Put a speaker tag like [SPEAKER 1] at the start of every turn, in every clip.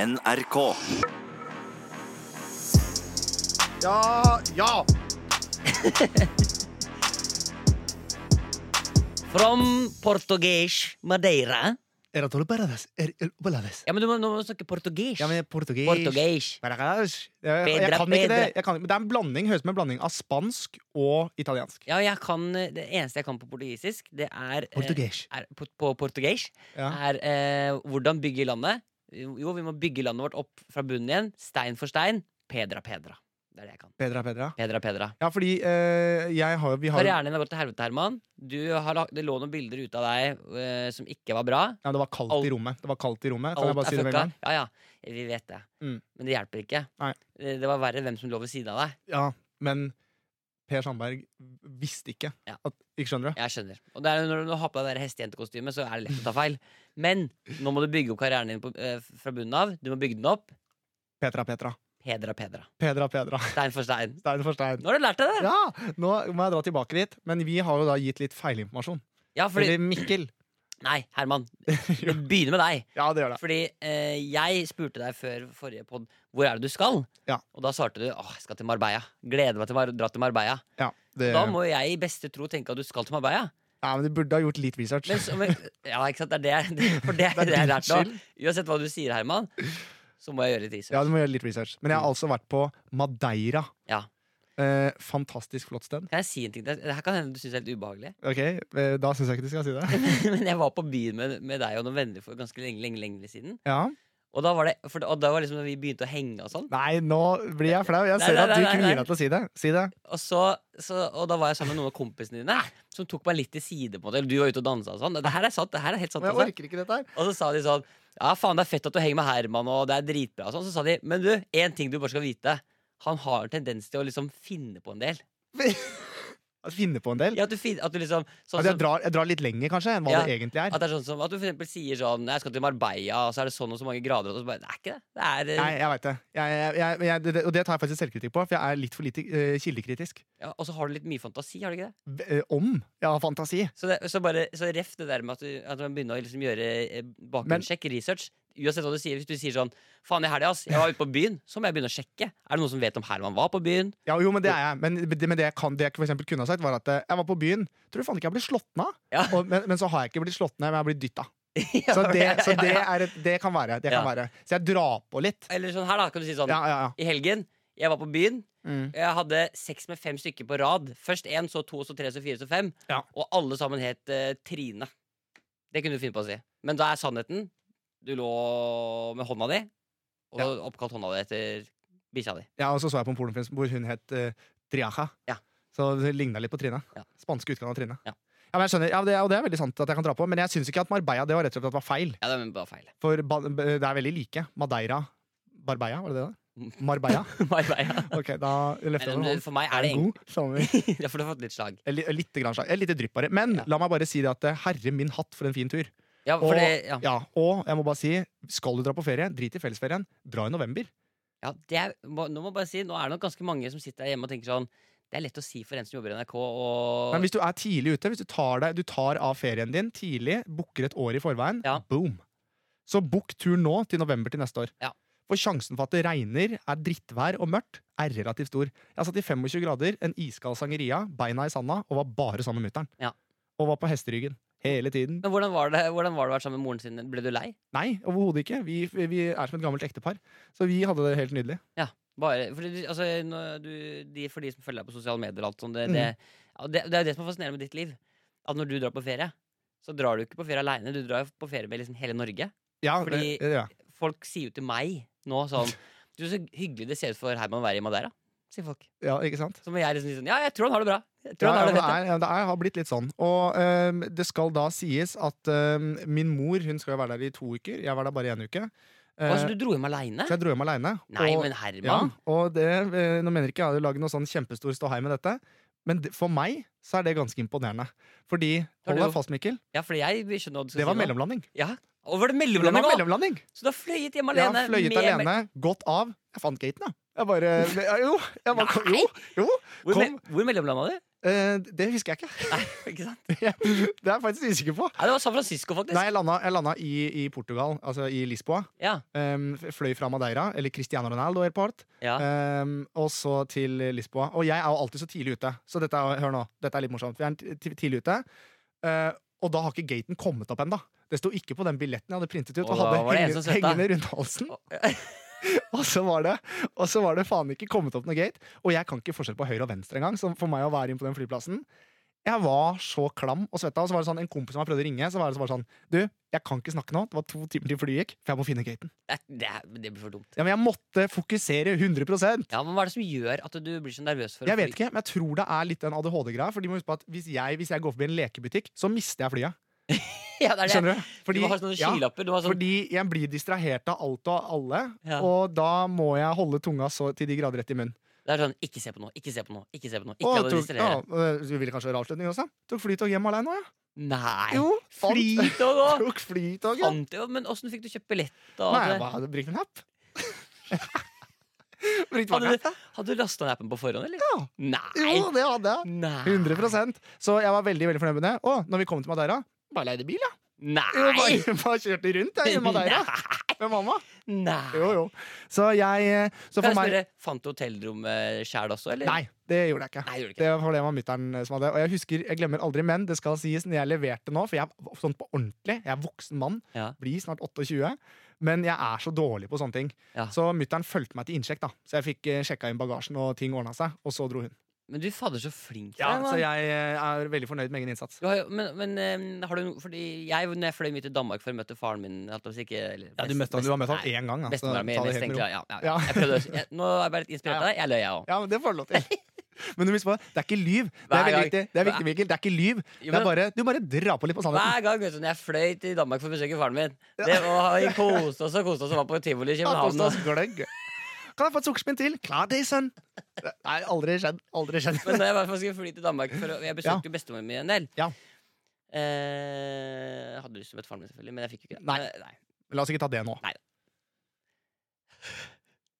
[SPEAKER 1] NRK.
[SPEAKER 2] Ja, ja.
[SPEAKER 3] From Portuguese Madeira.
[SPEAKER 2] Era todo paradas. Er, er, ballades.
[SPEAKER 3] Ja, men du må, nå må du snakke portugis.
[SPEAKER 2] Ja, men portugis.
[SPEAKER 3] Portugis.
[SPEAKER 2] Paradas. Jeg, jeg
[SPEAKER 3] Bedre,
[SPEAKER 2] kan ikke det.
[SPEAKER 3] bedre.
[SPEAKER 2] Jeg kan, men det er en blanding, høres ut som en blanding av spansk og italiensk.
[SPEAKER 3] Ja, jeg kan, eh, det eneste jeg kan på portugisisk, det er, eh,
[SPEAKER 2] Portugis.
[SPEAKER 3] er på, på portugis,
[SPEAKER 2] Ja.
[SPEAKER 3] er eh, hvordan bygge landet. Jo, vi må bygge landet vårt opp fra bunnen igjen. Stein for stein. Pedra pedra. Det er det jeg kan.
[SPEAKER 2] Bedre, bedre.
[SPEAKER 3] Pedra pedra.
[SPEAKER 2] Ja, fordi eh, jeg har, vi har jo
[SPEAKER 3] Karrieren din har gått til helvete, Herman. Du har, lagt- det lå noen bilder ute av deg eh, som ikke var bra.
[SPEAKER 2] ja, Det var kaldt i rommet. Det var kaldt i rommet. Kan jeg
[SPEAKER 3] Alt
[SPEAKER 2] bare
[SPEAKER 3] er
[SPEAKER 2] si det med en
[SPEAKER 3] fucka.
[SPEAKER 2] gang?
[SPEAKER 3] Ja, ja. Vi vet det.
[SPEAKER 2] Mm.
[SPEAKER 3] Men det hjelper ikke.
[SPEAKER 2] Nei.
[SPEAKER 3] Eh, Det var verre hvem som lå ved siden av deg.
[SPEAKER 2] Ja, men Per Sandberg visste ikke.
[SPEAKER 3] Ja.
[SPEAKER 2] At, ikke skjønner du?
[SPEAKER 3] Jeg skjønner. Og det er, jo når du har på deg det der hestejentekostymet, så er det lett å ta feil. Men nå må du bygge opp karrieren din på, eh, fra bunnen av. Du må bygge den opp.
[SPEAKER 2] Petra, Petra.
[SPEAKER 3] Pedra, pedra.
[SPEAKER 2] Pedra, Pedra.
[SPEAKER 3] Stein for stein.
[SPEAKER 2] Stein for stein.
[SPEAKER 3] Nå har du lært deg det!
[SPEAKER 2] Ja, nå må jeg dra tilbake dit. Men vi har jo da gitt litt feilinformasjon.
[SPEAKER 3] Ja, fordi
[SPEAKER 2] Eller Mikkel.
[SPEAKER 3] Nei, Herman. Det begynner med deg.
[SPEAKER 2] Ja, det gjør det.
[SPEAKER 3] Fordi eh, jeg spurte deg før forrige pod hvor er det du skal.
[SPEAKER 2] Ja.
[SPEAKER 3] Og da svarte du åh, jeg skal til Marbella. Gleder meg til å mar- dra til Marbella.
[SPEAKER 2] Ja, det
[SPEAKER 3] Da må jo jeg i beste tro tenke at du skal til Marbella.
[SPEAKER 2] Nei, men Du burde ha gjort litt research.
[SPEAKER 3] Men, så- men, ja, ikke sant? Det er det, jeg- for det er
[SPEAKER 2] Det er
[SPEAKER 3] det jeg har
[SPEAKER 2] din
[SPEAKER 3] lært nå. Uansett hva du sier, Herman, så må jeg gjøre litt
[SPEAKER 2] Ja,
[SPEAKER 3] research.
[SPEAKER 2] du må gjøre litt research Men jeg har altså vært på Madeira.
[SPEAKER 3] Ja.
[SPEAKER 2] Eh, fantastisk flott sted.
[SPEAKER 3] Kan jeg si en ting? Det det her kan hende du syns er litt ubehagelig.
[SPEAKER 2] Ok, eh, Da syns jeg ikke du skal si det.
[SPEAKER 3] Men jeg var på byen med, med deg og noen venner for ganske lenge, lenge, lenge siden.
[SPEAKER 2] Ja.
[SPEAKER 3] Og da var det, for, og da var liksom da vi begynte å henge og sånn.
[SPEAKER 2] Nei, nå blir jeg flau. Jeg
[SPEAKER 3] Nei,
[SPEAKER 2] ser
[SPEAKER 3] nei,
[SPEAKER 2] at du
[SPEAKER 3] nei, nei,
[SPEAKER 2] ikke
[SPEAKER 3] nei.
[SPEAKER 2] gir deg til å si det. Si det.
[SPEAKER 3] Og, så, så, og da var jeg sammen med noen av kompisene dine som tok meg litt til side. på det Eller du var ute og dansa og sånn. Det her er sant. Det her er helt sant
[SPEAKER 2] Men jeg
[SPEAKER 3] altså.
[SPEAKER 2] orker ikke dette her.
[SPEAKER 3] Og så sa de sånn Ja, faen, det er fett at du henger med Herman, og det er dritbra. Og sånn. Så sa de Men du, én ting du bare skal vite. Han har en tendens til å liksom finne på en del.
[SPEAKER 2] At Finne på en del.
[SPEAKER 3] Ja, at du, fin, at du liksom sånn
[SPEAKER 2] At jeg
[SPEAKER 3] som-
[SPEAKER 2] drar, jeg drar litt lenger, kanskje, enn hva
[SPEAKER 3] Ja.
[SPEAKER 2] det egentlig
[SPEAKER 3] At
[SPEAKER 2] er.
[SPEAKER 3] det er sånn som, at du for eksempel sier sånn Jeg skal til Marbella, og så er det sånn og så mange grader. Og så bare, det er ikke det. det er, eh,
[SPEAKER 2] Nei, jeg veit det. Jeg, jeg, jeg, men jeg, det- det. Og det tar jeg faktisk selvkritikk på, for jeg er litt for lite eh, kildekritisk.
[SPEAKER 3] ja, og så har du litt mye fantasi, har du ikke det?
[SPEAKER 2] V- eh, om jeg har fantasi.
[SPEAKER 3] Så, det, så, bare, så ref det der med at, du, at man begynner å liksom gjøre eh, bakgrunnssjekk, research. Uansett hva du sier, Hvis du sier sånn 'faen, i helga, ass, jeg var ute på byen', så må jeg begynne å sjekke. Er det noen som vet om Herman var på byen?
[SPEAKER 2] Ja, jo, men det er jeg. Men det, men det jeg, kan, det jeg for eksempel kunne ha sagt, var at eh, jeg var på byen. Tror du faen ikke jeg ble slått ned?
[SPEAKER 3] Ja.
[SPEAKER 2] Og, men, men så har jeg ikke blitt slått ned, men jeg har blitt dytta. Så det, så det, er et, det kan være. Det kan
[SPEAKER 3] Ja.
[SPEAKER 2] være. Så jeg drar på litt.
[SPEAKER 3] Eller sånn her, da. Kan du si sånn
[SPEAKER 2] Ja, ja, ja.
[SPEAKER 3] I helgen, jeg var på byen.
[SPEAKER 2] Mm.
[SPEAKER 3] Jeg hadde sex med fem stykker på rad. Først én, så to, så tre, så fire, så fem.
[SPEAKER 2] Ja.
[SPEAKER 3] Og alle sammen het eh, Trine. Det kunne du finne på å si. Men da er sannheten Du lå med hånda di, og
[SPEAKER 2] Ja.
[SPEAKER 3] oppkalt hånda di etter bikkja di.
[SPEAKER 2] Ja, og så så jeg på en pornofilm hvor hun het eh, Triaja.
[SPEAKER 3] Ja.
[SPEAKER 2] Så det ligna litt på Trine.
[SPEAKER 3] Ja.
[SPEAKER 2] Spanske utgaven av Trine.
[SPEAKER 3] Ja.
[SPEAKER 2] men jeg skjønner, ja, det, og det er veldig sant at jeg kan dra på, men jeg syns ikke at Marbella det var rett og slett at det var feil.
[SPEAKER 3] Ja, det er bare feil.
[SPEAKER 2] For ba, det er veldig like. Madeira Barbeia, var det det? der? Marbella?
[SPEAKER 3] Marbella.
[SPEAKER 2] Ok, da løfter jeg over
[SPEAKER 3] Men
[SPEAKER 2] hånden.
[SPEAKER 3] For meg er det egentlig
[SPEAKER 2] God sommer.
[SPEAKER 3] Ja, for du har fått litt slag.
[SPEAKER 2] Eller Litt, grann slag. Eh, lite drypp bare. Men
[SPEAKER 3] Ja.
[SPEAKER 2] la meg bare si det at eh, herre min hatt, for en fin tur.
[SPEAKER 3] Ja, for
[SPEAKER 2] Og-
[SPEAKER 3] det, ja.
[SPEAKER 2] Ja, Og jeg må bare si, skal du dra på ferie, drit i fellesferien. Dra i november.
[SPEAKER 3] Ja, det er, må, nå må jeg bare si Nå er det nok ganske mange som sitter der hjemme og tenker sånn Det er lett å si for en som jobber i NRK, og
[SPEAKER 2] Men hvis du er tidlig ute, hvis du tar, deg, du tar av ferien din tidlig, booker et år i forveien,
[SPEAKER 3] Ja.
[SPEAKER 2] boom! Så book tur nå til november til neste år.
[SPEAKER 3] Ja.
[SPEAKER 2] For sjansen for at det regner, er drittvær og mørkt, er relativt stor. Jeg satt i 25 grader, en iskald sangeria, beina i sanda, og var bare sammen med mutter'n.
[SPEAKER 3] Ja.
[SPEAKER 2] Og var på hesteryggen. Hele tiden.
[SPEAKER 3] Men hvordan var det Hvordan var det å være sammen med moren sin? Ble du lei?
[SPEAKER 2] Nei, overhodet ikke. Vi, vi er som et gammelt ektepar. Så vi hadde det helt nydelig.
[SPEAKER 3] Bare, fordi, du- altså, når du, de, for de som følger deg på sosiale medier, og alt sånt,
[SPEAKER 2] Mm.
[SPEAKER 3] det, det, ja, det, det er jo det som er fascinerende med ditt liv. At når du drar på ferie, så drar du ikke på ferie aleine. Du drar jo på ferie med liksom hele Norge.
[SPEAKER 2] Ja,
[SPEAKER 3] Fordi-
[SPEAKER 2] det, ja.
[SPEAKER 3] Folk sier jo til meg nå sånn Du, så hyggelig det ser ut for Herman å være i Madeira. Sier folk.
[SPEAKER 2] ja ikke sant?
[SPEAKER 3] Så må jeg liksom si sånn Ja, jeg tror han har det bra. Jeg tror
[SPEAKER 2] Ja, ja,
[SPEAKER 3] han
[SPEAKER 2] men det,
[SPEAKER 3] har det fett.
[SPEAKER 2] er, ja, det er, har blitt litt sånn. Og øhm, det skal da sies at øhm, min mor hun skal jo være der i to uker. Jeg var der bare én uke. Eh,
[SPEAKER 3] Og altså, du dro hjem aleine?
[SPEAKER 2] så jeg dro hjem aleine.
[SPEAKER 3] Nei,
[SPEAKER 2] og,
[SPEAKER 3] men
[SPEAKER 2] ja,
[SPEAKER 3] Herman.
[SPEAKER 2] og det, eh, nå mener ikke jeg å lage noe sånn kjempestor ståhei med dette, men det, for meg så er det ganske imponerende. Fordi
[SPEAKER 3] Har
[SPEAKER 2] Hold
[SPEAKER 3] du-
[SPEAKER 2] deg fast, Mikkel.
[SPEAKER 3] Ja, fordi jeg skjønner hva du skal
[SPEAKER 2] Det var
[SPEAKER 3] si nå.
[SPEAKER 2] mellomlanding.
[SPEAKER 3] Ja. Og var
[SPEAKER 2] Det
[SPEAKER 3] det
[SPEAKER 2] var
[SPEAKER 3] mellomlanding òg?
[SPEAKER 2] mellomlanding
[SPEAKER 3] Så du har fløyet hjem
[SPEAKER 2] Jeg
[SPEAKER 3] alene?
[SPEAKER 2] har fløyet
[SPEAKER 3] med-
[SPEAKER 2] alene, gått av. Jeg fant gaten, da. Jeg bare ja, Jo! Jeg bare, kom, jo, jo.
[SPEAKER 3] Hvor,
[SPEAKER 2] Kom.
[SPEAKER 3] me hvor mellomlanda du?
[SPEAKER 2] Eh, Eh, det husker jeg ikke.
[SPEAKER 3] Nei, ikke sant?
[SPEAKER 2] det er jeg faktisk usikker på.
[SPEAKER 3] Nei, det var San Francisco, faktisk.
[SPEAKER 2] Nei, jeg landa, jeg landa i, i Portugal, altså i Lisboa.
[SPEAKER 3] Ja,
[SPEAKER 2] Em, f- fløy fra Madeira, eller Cristiano Ronaldo Airport,
[SPEAKER 3] ja.
[SPEAKER 2] em, Ehm, og så til Lisboa. Og jeg er jo alltid så tidlig ute, så dette er, hør nå, dette er litt morsomt. Vi er t- t- tidlig ute, eh, og da har ikke gaten kommet opp ennå. Det sto ikke på den billetten jeg hadde printet ut,
[SPEAKER 3] Og
[SPEAKER 2] og
[SPEAKER 3] da
[SPEAKER 2] hadde
[SPEAKER 3] var det en
[SPEAKER 2] hengende,
[SPEAKER 3] som svetta.
[SPEAKER 2] hengende rundt halsen. Og så, var det, og så var det faen ikke kommet opp noe gate. Og jeg kan ikke forskjell på høyre og venstre engang. Så for meg å være inn på den flyplassen Jeg var så klam og svetta. Og så var det sånn, en kompis som hadde prøvd å ringe, så var det så bare sånn Du, jeg kan ikke snakke nå. Det var to timer til flyet gikk, for jeg må finne gaten.
[SPEAKER 3] Det, det, er- det blir for dumt.
[SPEAKER 2] Ja, men jeg måtte fokusere 100
[SPEAKER 3] Ja, men Hva er det som gjør at du blir så nervøs? for å
[SPEAKER 2] Jeg vet
[SPEAKER 3] fly?
[SPEAKER 2] ikke, men jeg tror det er litt den ADHD-greia. For de må huske på at hvis jeg, hvis jeg går forbi en lekebutikk, så mister jeg flyet.
[SPEAKER 3] Ja, det er det.
[SPEAKER 2] Skjønner du?
[SPEAKER 3] du må ha sånne
[SPEAKER 2] ja,
[SPEAKER 3] skylapper. Du må ha sånn,
[SPEAKER 2] fordi jeg blir distrahert av alt og alle,
[SPEAKER 3] ja.
[SPEAKER 2] og da må jeg holde tunga så til de grader rett i munnen.
[SPEAKER 3] Det er sånn 'ikke se på noe, ikke se på noe', ikke se på noe. Ikke
[SPEAKER 2] Å,
[SPEAKER 3] la deg
[SPEAKER 2] tok, ja,
[SPEAKER 3] distrahere.
[SPEAKER 2] øh, Du vil kanskje høre avslutningen også? Tok flytog hjem alene òg, ja.
[SPEAKER 3] Nei!
[SPEAKER 2] Jo, fant-
[SPEAKER 3] Flytog òg!
[SPEAKER 2] Tok flytog, ja.
[SPEAKER 3] Fant jo, men åssen fikk du kjøpt billett? da?
[SPEAKER 2] Nei, jeg
[SPEAKER 3] Hadde-
[SPEAKER 2] bare hadde brukt en app. Brukt hva
[SPEAKER 3] Hadde
[SPEAKER 2] app?
[SPEAKER 3] du, hadde du lasta ned appen på forhånd, eller?
[SPEAKER 2] Ja.
[SPEAKER 3] Nei!
[SPEAKER 2] Jo, det hadde jeg.
[SPEAKER 3] Nei!
[SPEAKER 2] 100 Så jeg var veldig veldig fornøyd med det. Og når vi kom til Madeira, bare leide bil, ja. Jo,
[SPEAKER 3] Nei!
[SPEAKER 2] bare, bare kjørte rundt jeg, i Madeira med mamma.
[SPEAKER 3] Nei.
[SPEAKER 2] Jo, jo. Så jeg Så for
[SPEAKER 3] Kan jeg
[SPEAKER 2] meg
[SPEAKER 3] spørre, fant du hotellrommet sjæl også, eller?
[SPEAKER 2] Nei, det gjorde jeg ikke.
[SPEAKER 3] Nei, gjorde du ikke.
[SPEAKER 2] Det var det var mutter'n eh, som hadde. Og jeg husker, jeg glemmer aldri, men det skal sies når jeg leverte nå, for jeg er sånn på ordentlig, jeg er voksen mann,
[SPEAKER 3] Ja.
[SPEAKER 2] blir snart 28, men jeg er så dårlig på sånne ting.
[SPEAKER 3] Ja.
[SPEAKER 2] Så mutter'n fulgte meg til innsjekk, da. Så jeg fikk eh, sjekka inn bagasjen, og ting ordna seg, og så dro hun.
[SPEAKER 3] Men du fader, så flink du
[SPEAKER 2] Ja,
[SPEAKER 3] er.
[SPEAKER 2] så
[SPEAKER 3] mann.
[SPEAKER 2] jeg eh, er veldig fornøyd med egen innsats.
[SPEAKER 3] Du har jo, men men em, har du no- Fordi jeg, når jeg fløy mye til Danmark for å møte faren min holdt jeg på å si, ikke, eller,
[SPEAKER 2] Ja, du,
[SPEAKER 3] best-
[SPEAKER 2] møtte han, du har møtt
[SPEAKER 3] nei,
[SPEAKER 2] han én gang. da, så
[SPEAKER 3] Bestemora mi
[SPEAKER 2] ta det helt med
[SPEAKER 3] mest, egentlig.
[SPEAKER 2] ro.
[SPEAKER 3] Ja, ja, ja.
[SPEAKER 2] Ja.
[SPEAKER 3] Jeg prøvde, å- jeg, nå er jeg bare litt inspirert av deg. Jeg løy, jeg òg.
[SPEAKER 2] Ja, men det får du lov til. Men du må huske på, det er ikke lyv. Det er
[SPEAKER 3] Hver
[SPEAKER 2] veldig
[SPEAKER 3] gang.
[SPEAKER 2] viktig, det er, viktig, Mikkel. Det er ikke lyv.
[SPEAKER 3] Jo,
[SPEAKER 2] Det
[SPEAKER 3] men-
[SPEAKER 2] er bare, du bare drar på litt på sannheten.
[SPEAKER 3] Hver gang vet du, når jeg fløy til Danmark for å besøke faren min Det var Vi koste oss og koste oss og var på tivoli i
[SPEAKER 2] Ja,
[SPEAKER 3] København.
[SPEAKER 2] koste
[SPEAKER 3] og-
[SPEAKER 2] oss gløgg. Kan jeg få et sukkerspinn til? Klar til, sønn. Det er aldri skjedd. Aldri skjedd.
[SPEAKER 3] Men når jeg i hvert fall skulle fly til Danmark for å, Jeg besøkte jo bestemoren min en del.
[SPEAKER 2] Ja.
[SPEAKER 3] Eh, hadde lyst til å møte faren min, selvfølgelig, men jeg fikk jo ikke det.
[SPEAKER 2] Nei.
[SPEAKER 3] Eh, nei.
[SPEAKER 2] La oss ikke ta det nå.
[SPEAKER 3] Nei.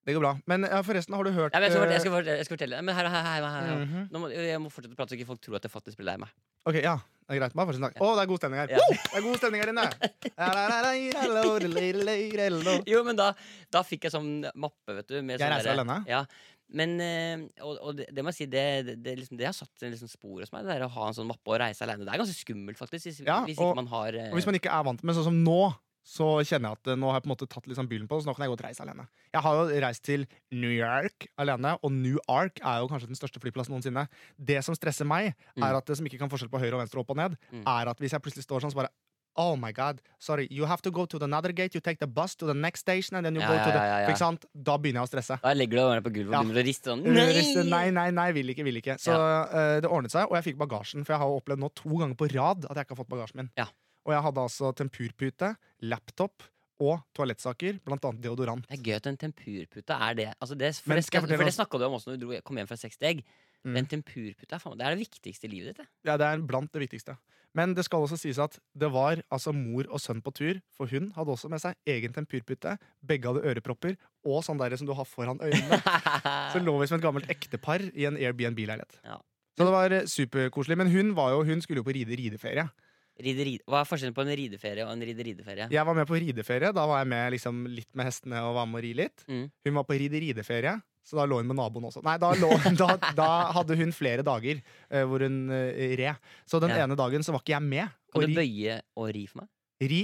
[SPEAKER 2] Det går bra. Men ja, forresten, har du hørt
[SPEAKER 3] Nei, men jeg, skal
[SPEAKER 2] eh,
[SPEAKER 3] fortelle, jeg, skal fortelle, jeg skal fortelle Men her, her, her, her, her.
[SPEAKER 2] Mhm.
[SPEAKER 3] Nå må, Jeg må fortsette å prate så ikke folk tror at jeg faktisk blir lei meg.
[SPEAKER 2] Ok, ja. Det er greit. Bare fortsett å snakke. Å, det er god stemning her.
[SPEAKER 3] Ja.
[SPEAKER 2] Woo! Det er god stemning her inne.
[SPEAKER 3] Jo, men da, da fikk jeg sånn mappe, vet du. Med
[SPEAKER 2] Jeg
[SPEAKER 3] sånn
[SPEAKER 2] reiser
[SPEAKER 3] derre-
[SPEAKER 2] alene.
[SPEAKER 3] Ja. Men, eh, og, og det, det må jeg si, det, det, det, liksom, det har satt en liksom spor hos meg, det der å ha en sånn mappe og reise alene. Det er ganske skummelt, faktisk, hvis,
[SPEAKER 2] Ja,
[SPEAKER 3] hvis
[SPEAKER 2] og-
[SPEAKER 3] ikke man har eh,
[SPEAKER 2] Og hvis man ikke er vant med sånn som nå, så kjenner jeg at eh, nå har jeg på en måte tatt liksom byllen på det, så nå kan jeg godt reise alene. Jeg har jo reist til New York alene, og New York er jo kanskje den største flyplassen noensinne. Det som stresser meg,
[SPEAKER 3] Mm.
[SPEAKER 2] er at det som ikke kan forskjell på høyre og venstre, opp og ned,
[SPEAKER 3] Mm.
[SPEAKER 2] er at hvis jeg plutselig står sånn, så bare Oh my god, sorry, you have to go to another gate, you take the bus to the next station, and then you
[SPEAKER 3] Ja,
[SPEAKER 2] go
[SPEAKER 3] ja,
[SPEAKER 2] to the
[SPEAKER 3] ja, ja, ja.
[SPEAKER 2] Ikke sant? Da begynner jeg å stresse.
[SPEAKER 3] Da legger du deg på gulvet
[SPEAKER 2] Ja.
[SPEAKER 3] og begynner å riste sånn.
[SPEAKER 2] Rødriste, Eh, Nei, nei, nei, vil ikke, vil ikke. Så eh, det ordnet seg, og jeg fikk bagasjen. For jeg har jo opplevd nå to ganger på rad at jeg ikke har fått bagasjen min.
[SPEAKER 3] Ja.
[SPEAKER 2] Og jeg hadde altså tempurpute, laptop og toalettsaker, blant annet deodorant.
[SPEAKER 3] Det er gøy at en tempurpute er det. Altså det for
[SPEAKER 2] Men
[SPEAKER 3] det,
[SPEAKER 2] skal jeg
[SPEAKER 3] skal-
[SPEAKER 2] fortelle
[SPEAKER 3] for det
[SPEAKER 2] oss-
[SPEAKER 3] snakka du om også når du dro, kom hjem fra seks steg.
[SPEAKER 2] Mm.
[SPEAKER 3] Men tempurpute er, faen, meg- det er det viktigste i livet ditt. det.
[SPEAKER 2] Ja, det er blant det viktigste. Men det skal også sies at det var altså mor og sønn på tur, for hun hadde også med seg egen tempurpute, begge hadde ørepropper, og sånn der som du har foran øynene. Så lå vi som et gammelt ektepar i en Airbnb-leilighet.
[SPEAKER 3] Ja.
[SPEAKER 2] Så det var eh, superkoselig. Men hun, var jo, hun skulle jo på ride rideferie.
[SPEAKER 3] Ride, ride. Hva er forskjellen på en rideferie og en ride-rideferie?
[SPEAKER 2] Jeg var med på rideferie. Da var jeg med liksom, litt med hestene og var med å ri litt.
[SPEAKER 3] Mm.
[SPEAKER 2] Hun var på ride-rideferie, så da lå hun med naboen også. Nei, da, lå, da, da hadde hun flere dager eh, hvor hun eh, red. Så den
[SPEAKER 3] Ja.
[SPEAKER 2] ene dagen så var ikke jeg med.
[SPEAKER 3] Kan
[SPEAKER 2] å
[SPEAKER 3] du
[SPEAKER 2] ri,
[SPEAKER 3] bøye og ri for meg?
[SPEAKER 2] ri,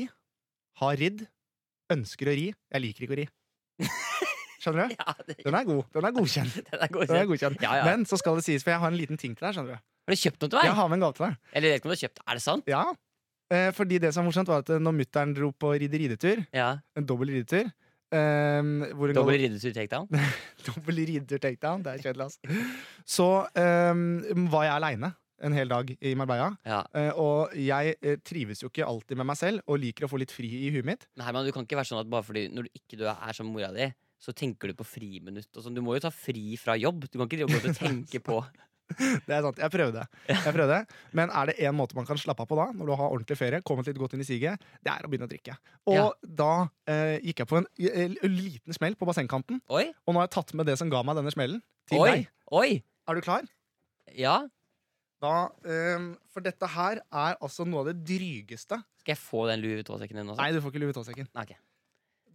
[SPEAKER 2] har ridd, ønsker å ri. Jeg liker ikke å ri. Skjønner du?
[SPEAKER 3] Ja, det,
[SPEAKER 2] Den er god. Den er godkjent.
[SPEAKER 3] den er god.
[SPEAKER 2] Den er godkjent.
[SPEAKER 3] Ja, ja.
[SPEAKER 2] Men så skal det sies, for jeg har en liten ting til deg. skjønner du
[SPEAKER 3] Har du kjøpt noe til meg?
[SPEAKER 2] Jeg har med en gave til deg.
[SPEAKER 3] Eller jeg vet ikke om du har kjøpt. Er det sant?
[SPEAKER 2] Ja Eh, fordi det som var morsomt, var at eh, når mutter'n dro på ride-ridetur,
[SPEAKER 3] Ja.
[SPEAKER 2] en dobbel ridetur eh, hvor hun ga-
[SPEAKER 3] Dobbel ridetur takedown?
[SPEAKER 2] Dobbel ridetur takedown. Det er kjedelig, altså. Så ehm, var jeg aleine en hel dag i Marbella.
[SPEAKER 3] Ja.
[SPEAKER 2] eh, og jeg eh, trives jo ikke alltid med meg selv og liker å få litt fri i huet mitt.
[SPEAKER 3] Men Herman, du kan ikke være sånn at bare fordi når du ikke du er som mora di, så tenker du på friminutt og sånn. Du må jo ta fri fra jobb. Du kan ikke drive og gå rundt og tenke på
[SPEAKER 2] Det er sant, Jeg prøvde. Jeg prøvde. Men er det én måte man kan slappe av på da, når du har ordentlig ferie, kommet litt godt inn i siget, det er å begynne å drikke. Og
[SPEAKER 3] Ja.
[SPEAKER 2] da eh, gikk jeg på en, en liten smell på bassengkanten,
[SPEAKER 3] Oi!
[SPEAKER 2] og nå har jeg tatt med det som ga meg denne smellen, til
[SPEAKER 3] Oi!
[SPEAKER 2] deg.
[SPEAKER 3] Oi!
[SPEAKER 2] Er du klar?
[SPEAKER 3] Ja.
[SPEAKER 2] Da, eh, for dette her er altså noe av det drygeste
[SPEAKER 3] Skal jeg få den Louis Vuitton-sekken din også?
[SPEAKER 2] Nei, du får ikke Louis Vuitton-sekken.
[SPEAKER 3] Nei, ok.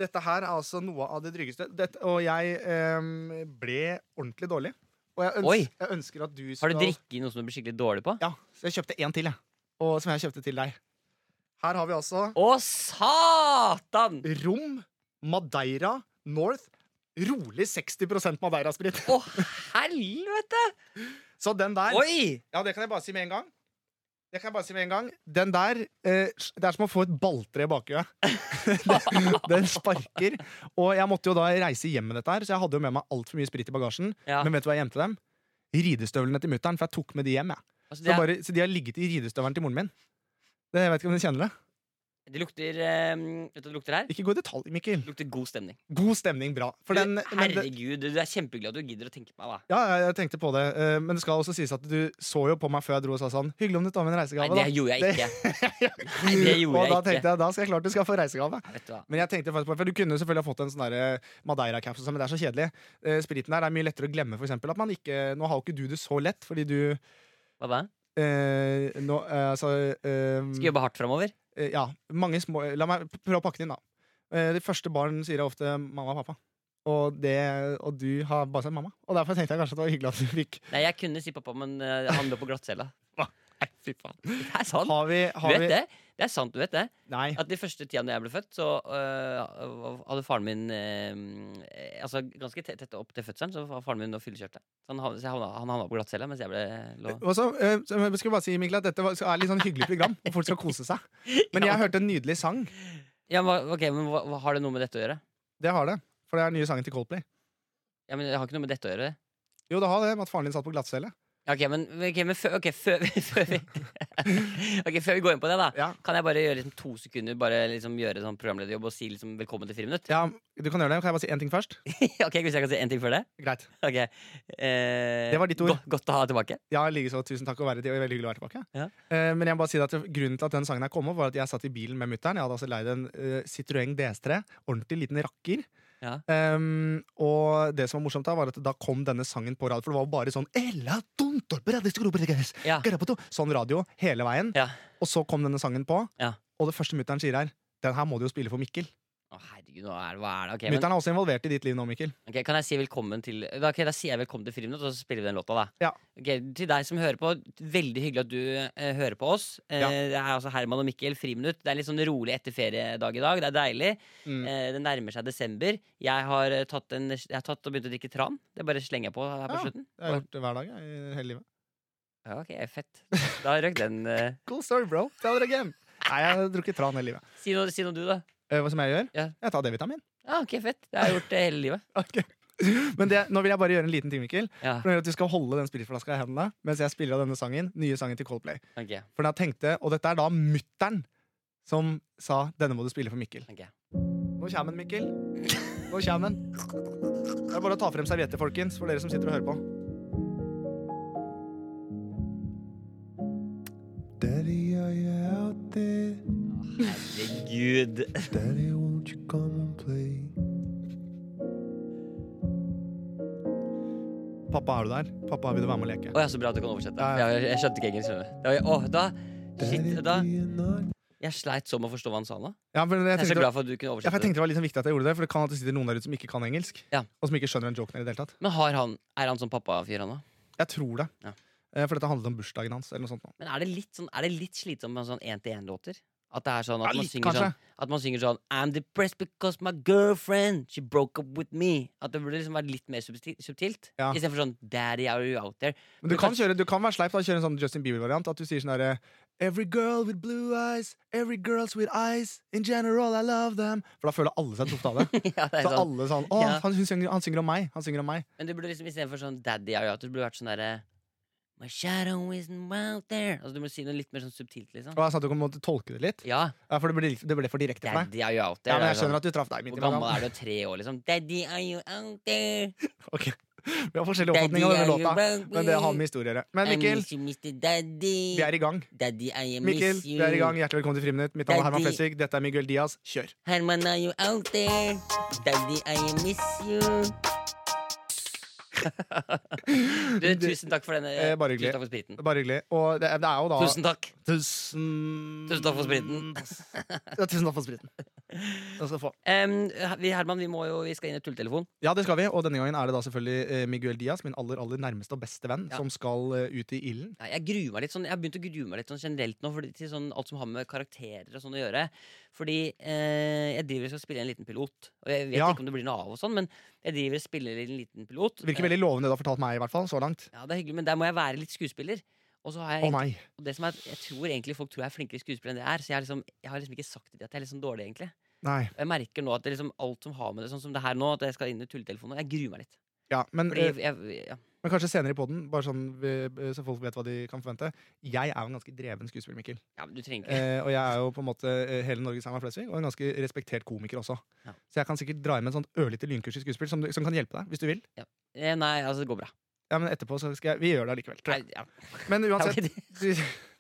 [SPEAKER 2] Dette her er altså noe av det drygeste. Dette, og jeg eh, ble ordentlig dårlig. Og jeg, øns
[SPEAKER 3] Oi.
[SPEAKER 2] jeg ønsker at du
[SPEAKER 3] Har
[SPEAKER 2] skal
[SPEAKER 3] du drikke i noe som du blir skikkelig dårlig på?
[SPEAKER 2] Ja, så jeg kjøpte én til, jeg. Og, som jeg kjøpte til deg. Her har vi altså
[SPEAKER 3] Å, satan!
[SPEAKER 2] Rom, Madeira, North. Rolig 60 Madeira-sprit.
[SPEAKER 3] Å, helvete!
[SPEAKER 2] Så den der
[SPEAKER 3] Oi!
[SPEAKER 2] Ja, det kan jeg bare si med en gang. Det kan jeg bare si med en gang. Den der eh, Det er som å få et balltre i bakhuet. den, den sparker. Og jeg måtte jo da reise hjem med dette her, så jeg hadde jo med meg altfor mye sprit i bagasjen.
[SPEAKER 3] Ja,
[SPEAKER 2] Men vet du hva jeg gjemte dem? Ridestøvlene til mutter'n, for jeg tok med de hjem. jeg.
[SPEAKER 3] altså,
[SPEAKER 2] Så,
[SPEAKER 3] det, er,
[SPEAKER 2] bare, så de har ligget i ridestøvelen til moren min. Det, jeg vet ikke om du kjenner det.
[SPEAKER 3] det lukter eh, Vet du hva det lukter her?
[SPEAKER 2] Ikke gå i detalj, Mikkel.
[SPEAKER 3] Det lukter god stemning.
[SPEAKER 2] God stemning, bra. For den,
[SPEAKER 3] Du,
[SPEAKER 2] men det,
[SPEAKER 3] herregud, du er kjempeglad at du gidder å tenke på meg, da.
[SPEAKER 2] ja, ja, jeg tenkte på det. eh, Men det skal også sies at du så jo på meg før jeg dro og sa sånn Hyggelig om du tar med en reisegave,
[SPEAKER 3] Nei, det gjorde jeg ikke.
[SPEAKER 2] da.
[SPEAKER 3] Nei, det gjorde
[SPEAKER 2] og da
[SPEAKER 3] jeg ikke.
[SPEAKER 2] tenkte jeg da skal jeg klart du skal få reisegave.
[SPEAKER 3] Vet du hva?
[SPEAKER 2] Men jeg tenkte faktisk på, for du kunne jo selvfølgelig ha fått en sånn der, eh, Madeira-caps, og sånn, men det er så kjedelig. Eh, Spriten der er mye lettere å glemme, for eksempel. At man ikke, nå har jo ikke du det så lett, fordi du
[SPEAKER 3] Hva da?
[SPEAKER 2] eh, nå, eh, altså, eh,
[SPEAKER 3] Skal jobbe hardt framover?
[SPEAKER 2] eh, Ja, mange små La meg p- prøve å pakke den inn, da. Eh, de første barn sier jeg ofte mamma og pappa. Og, det, og du har bare sagt mamma. Og derfor tenkte jeg kanskje at det var hyggelig at du fikk
[SPEAKER 3] Nei, jeg kunne si pappa, men eh, han lå på glattcella.
[SPEAKER 2] Nei, fy faen.
[SPEAKER 3] Det er sant.
[SPEAKER 2] Har vi,
[SPEAKER 3] Du
[SPEAKER 2] har
[SPEAKER 3] vet
[SPEAKER 2] vi
[SPEAKER 3] det? Det er sant, du vet det.
[SPEAKER 2] Nei.
[SPEAKER 3] At de første tida da jeg ble født, så øh, hadde faren min øh, Altså ganske tett tett opp til fødselen, så var faren min og fyllekjørte. Så han, havna- så jeg havna, han havna på glattcelle mens jeg ble lå.
[SPEAKER 2] Og så, eh, så jeg skal bare si, Mikkel, at dette var- er litt sånn hyggelig program, og folk skal kose seg. Men jeg hørte en nydelig sang.
[SPEAKER 3] Ja, men, hva- ok, men hva, hva har det noe med dette å gjøre?
[SPEAKER 2] Det har det. For det er nye sangen til Coldplay.
[SPEAKER 3] Ja, men Det har ikke noe med dette å gjøre.
[SPEAKER 2] Jo, det har det, med at faren din satt på glattcelle.
[SPEAKER 3] Ja, Ok, men, ok, men før, ok, før, vi- før vi Ok, før vi går inn på det, da.
[SPEAKER 2] Ja.
[SPEAKER 3] Kan jeg bare gjøre liksom to sekunder Bare liksom gjøre sånn programlederjobb og si liksom velkommen til Friminutt?
[SPEAKER 2] ja, du kan gjøre det. Kan jeg bare si én ting først?
[SPEAKER 3] ok, Hvis jeg kan si en ting før det?
[SPEAKER 2] Greit.
[SPEAKER 3] Ok eh,
[SPEAKER 2] Det var ditt ord.
[SPEAKER 3] go- godt å ha deg tilbake.
[SPEAKER 2] Ja, likeså. Tusen takk og være til, og veldig hyggelig å være tilbake.
[SPEAKER 3] Ja.
[SPEAKER 2] Eh, men jeg må bare si at grunnen til at den sangen her kom opp, var at jeg satt i bilen med mutter'n. Jeg hadde altså leid en eh, Citroën DS3. Ordentlig liten rakker.
[SPEAKER 3] Ja.
[SPEAKER 2] Ehm, og det som var morsomt da, var at da kom denne sangen på radio. For det var bare sånn Ella Duntorp, radioskrobereges,
[SPEAKER 3] Ja.
[SPEAKER 2] garabato. Sånn radio hele veien.
[SPEAKER 3] Ja.
[SPEAKER 2] Og så kom denne sangen på,
[SPEAKER 3] Ja.
[SPEAKER 2] og det første mutter'n sier her den her må du jo spille for Mikkel.
[SPEAKER 3] Å, herregud, nå er, hva er det? Ok, men-
[SPEAKER 2] Mutter'n er også involvert i ditt liv nå, Mikkel.
[SPEAKER 3] Ok, Kan jeg si velkommen til da, ok, da sier jeg velkommen til Friminutt, og så spiller vi den låta, da.
[SPEAKER 2] Ja.
[SPEAKER 3] Ok, til deg som hører på, veldig hyggelig at du eh, hører på oss. Eh,
[SPEAKER 2] Ja.
[SPEAKER 3] Det er altså Herman og Mikkel, Friminutt. Det er litt sånn rolig etter feriedag i dag. Det er deilig.
[SPEAKER 2] Mm.
[SPEAKER 3] Eh, det nærmer seg desember. Jeg har, eh, tatt en, jeg har tatt og begynt å drikke tran. Det bare slenger jeg på her
[SPEAKER 2] Ja,
[SPEAKER 3] på slutten.
[SPEAKER 2] Jeg har gjort det hver dag jeg, i hele livet.
[SPEAKER 3] Ja, ok, fett. Da røk den. eh.
[SPEAKER 2] Cool story, bro. Tell it again. Nei, jeg har drukket tran hele livet.
[SPEAKER 3] Si, noe, si noe du, da.
[SPEAKER 2] Eh, Hva som jeg gjør?
[SPEAKER 3] Ja.
[SPEAKER 2] Jeg tar D-vitamin.
[SPEAKER 3] Ja, Ah, ok, fett. Det har jeg gjort eh, hele livet.
[SPEAKER 2] Ok. Men det, nå vil jeg bare gjøre en liten ting, Mikkel.
[SPEAKER 3] Ja,
[SPEAKER 2] For det gjør at Du skal holde den spritflaska i hendene mens jeg spiller av denne sangen. Nye sangen til Coldplay.
[SPEAKER 3] ok.
[SPEAKER 2] For jeg tenkte, Og dette er da mutter'n som sa 'denne må du spille for Mikkel'.
[SPEAKER 3] ok.
[SPEAKER 2] Nå kommer den, Mikkel. Nå kommer den. Det er bare å ta frem servietter, folkens, for dere som sitter og hører på.
[SPEAKER 1] Daddy, are you out there?
[SPEAKER 3] Herregud.
[SPEAKER 1] Daddy, won't you come and play?
[SPEAKER 2] Pappa, er du der? Pappa, vil du være med og leke?
[SPEAKER 3] Å ja, så bra at du kan oversette.
[SPEAKER 2] Ja, ja.
[SPEAKER 3] Jeg, jeg skjønte ikke engelsk. skjønner du. Det var- Å, da
[SPEAKER 1] Daddy,
[SPEAKER 3] Shit, da
[SPEAKER 1] do you not?
[SPEAKER 3] Jeg sleit så med å forstå hva han sa nå.
[SPEAKER 2] Ja, men jeg
[SPEAKER 3] Jeg er så
[SPEAKER 2] tenkte-
[SPEAKER 3] glad for at du kunne
[SPEAKER 2] Ja, for jeg
[SPEAKER 3] oversette det.
[SPEAKER 2] tenkte det var liksom viktig at jeg gjorde det, for det kan at det sitter noen der ute som ikke kan engelsk.
[SPEAKER 3] Ja.
[SPEAKER 2] Og som ikke skjønner den joken i det hele tatt.
[SPEAKER 3] Men har han, er han sånn pappafyr, han òg?
[SPEAKER 2] Jeg tror det.
[SPEAKER 3] Ja.
[SPEAKER 2] Eh, For dette handlet om bursdagen hans. eller noe sånt. nå.
[SPEAKER 3] Men er det litt, sånn, er det litt slitsomt med sånn én-til-én-låter? At det er sånn
[SPEAKER 2] Ja,
[SPEAKER 3] at, man
[SPEAKER 2] litt,
[SPEAKER 3] synger
[SPEAKER 2] kanskje.
[SPEAKER 3] sånn at man synger sånn I'm depressed because my girlfriend She broke up with me. At det burde liksom være litt mer subti- subtilt.
[SPEAKER 2] Ja.
[SPEAKER 3] Istedenfor sånn Daddy, are you out there?
[SPEAKER 2] Men du
[SPEAKER 3] Men
[SPEAKER 2] kan,
[SPEAKER 3] kanskje-
[SPEAKER 2] kjøre, du kan være sleip da, kjøre en sånn Justin Bieber-variant. At du sier sånn derre Every girl with blue eyes, every girls with eyes, in general I love them. For da føler alle seg tufte av det.
[SPEAKER 3] ja, det er
[SPEAKER 2] Så
[SPEAKER 3] sånn.
[SPEAKER 2] alle sånn Å,
[SPEAKER 3] Ja.
[SPEAKER 2] han, hun synger, han synger om meg! Han synger om meg.
[SPEAKER 3] Men det burde liksom istedenfor sånn Daddy, are you out there? Det burde vært sånn derre My shadow isn't out there. Altså Du må si noe litt mer sånn subtilt, liksom.
[SPEAKER 2] Og jeg sa at du måtte tolke det litt.
[SPEAKER 3] Ja.
[SPEAKER 2] Ja, For det ble, litt- det ble for direkte for deg.
[SPEAKER 3] Daddy, are you out there?
[SPEAKER 2] Ja, men
[SPEAKER 3] Det er
[SPEAKER 2] jeg
[SPEAKER 3] sånn-
[SPEAKER 2] skjønner at du traff deg midt
[SPEAKER 3] Hvor
[SPEAKER 2] i
[SPEAKER 3] gammel
[SPEAKER 2] mellom.
[SPEAKER 3] er du? Tre år, liksom? Daddy, are you out there?
[SPEAKER 2] Ok. Vi har forskjellig
[SPEAKER 3] Daddy,
[SPEAKER 2] oppfatning av
[SPEAKER 3] are
[SPEAKER 2] denne
[SPEAKER 3] you
[SPEAKER 2] låta,
[SPEAKER 3] out
[SPEAKER 2] men det har med historie å gjøre. Men
[SPEAKER 3] I
[SPEAKER 2] Mikkel,
[SPEAKER 3] miss you, Mr. Daddy.
[SPEAKER 2] vi er i gang.
[SPEAKER 3] Daddy, I miss
[SPEAKER 2] Mikkel,
[SPEAKER 3] you.
[SPEAKER 2] vi er i gang. Hjertelig velkommen til Friminutt. Mitt navn er Herman
[SPEAKER 3] Daddy.
[SPEAKER 2] Flesvig. Dette er Miguel Diaz. Kjør.
[SPEAKER 3] Herman, are you out there? Daddy, I miss you. Du, tusen takk for denne.
[SPEAKER 2] Eh, bare hyggelig.
[SPEAKER 3] Tusen takk for spriten.
[SPEAKER 2] Bare hyggelig. Og det, er- det er jo da
[SPEAKER 3] Tusen takk.
[SPEAKER 2] Tusen
[SPEAKER 3] Tusen takk for spriten.
[SPEAKER 2] Ja, tusen takk for spriten. Den skal du få.
[SPEAKER 3] Em, vi, Herman, vi, må jo, vi skal inn i tulletelefon.
[SPEAKER 2] Ja, det skal vi. Og denne gangen er det da selvfølgelig eh, Miguel Diaz, min aller aller nærmeste og beste venn,
[SPEAKER 3] Ja.
[SPEAKER 2] som skal eh, ut i ilden.
[SPEAKER 3] Nei, Jeg gruer meg litt sånn Jeg har begynt å grue meg litt sånn generelt nå fordi, til sånn, alt som har med karakterer og sånn å gjøre. Fordi eh, jeg driver og skal spille en liten pilot. Og jeg vet
[SPEAKER 2] Ja.
[SPEAKER 3] ikke om det blir noe av, og sånn men jeg driver og spiller en liten pilot.
[SPEAKER 2] Virker
[SPEAKER 3] Eh,
[SPEAKER 2] veldig lovende, det du har fortalt meg, i hvert fall, så langt.
[SPEAKER 3] ja, det er hyggelig, Men der må jeg være litt skuespiller. Og så har
[SPEAKER 2] Å
[SPEAKER 3] jeg,
[SPEAKER 2] nei.
[SPEAKER 3] og det som er, at jeg tror egentlig folk tror jeg er flinkere skuespiller enn det er. Så jeg har liksom, jeg har liksom ikke sagt det at jeg er litt sånn dårlig, egentlig.
[SPEAKER 2] Nei.
[SPEAKER 3] Og jeg merker nå at det er liksom alt som har med det Sånn som det her nå, at jeg skal inn i tulletelefonen. Jeg gruer meg litt.
[SPEAKER 2] Ja, men,
[SPEAKER 3] Fordi
[SPEAKER 2] eh,
[SPEAKER 3] jeg, ja.
[SPEAKER 2] men kanskje senere i poden, bare sånn vi- så folk vet hva de kan forvente. Jeg er jo en ganske dreven skuespiller, Mikkel.
[SPEAKER 3] ja, men du trenger ikke
[SPEAKER 2] Eh, og jeg er jo på en måte eh, hele Norges Herman Flesvig, og en ganske respektert komiker også.
[SPEAKER 3] Ja.
[SPEAKER 2] Så jeg kan sikkert dra inn med en sånn ørlite lynkurs i skuespill som, du- som kan hjelpe deg, hvis du vil.
[SPEAKER 3] Eh, Nei, altså, det går bra.
[SPEAKER 2] Ja, men etterpå så skal jeg Vi gjør det allikevel. tror
[SPEAKER 3] Nei,
[SPEAKER 2] jeg.
[SPEAKER 3] ja.
[SPEAKER 2] Men uansett,
[SPEAKER 3] Ok,
[SPEAKER 2] du,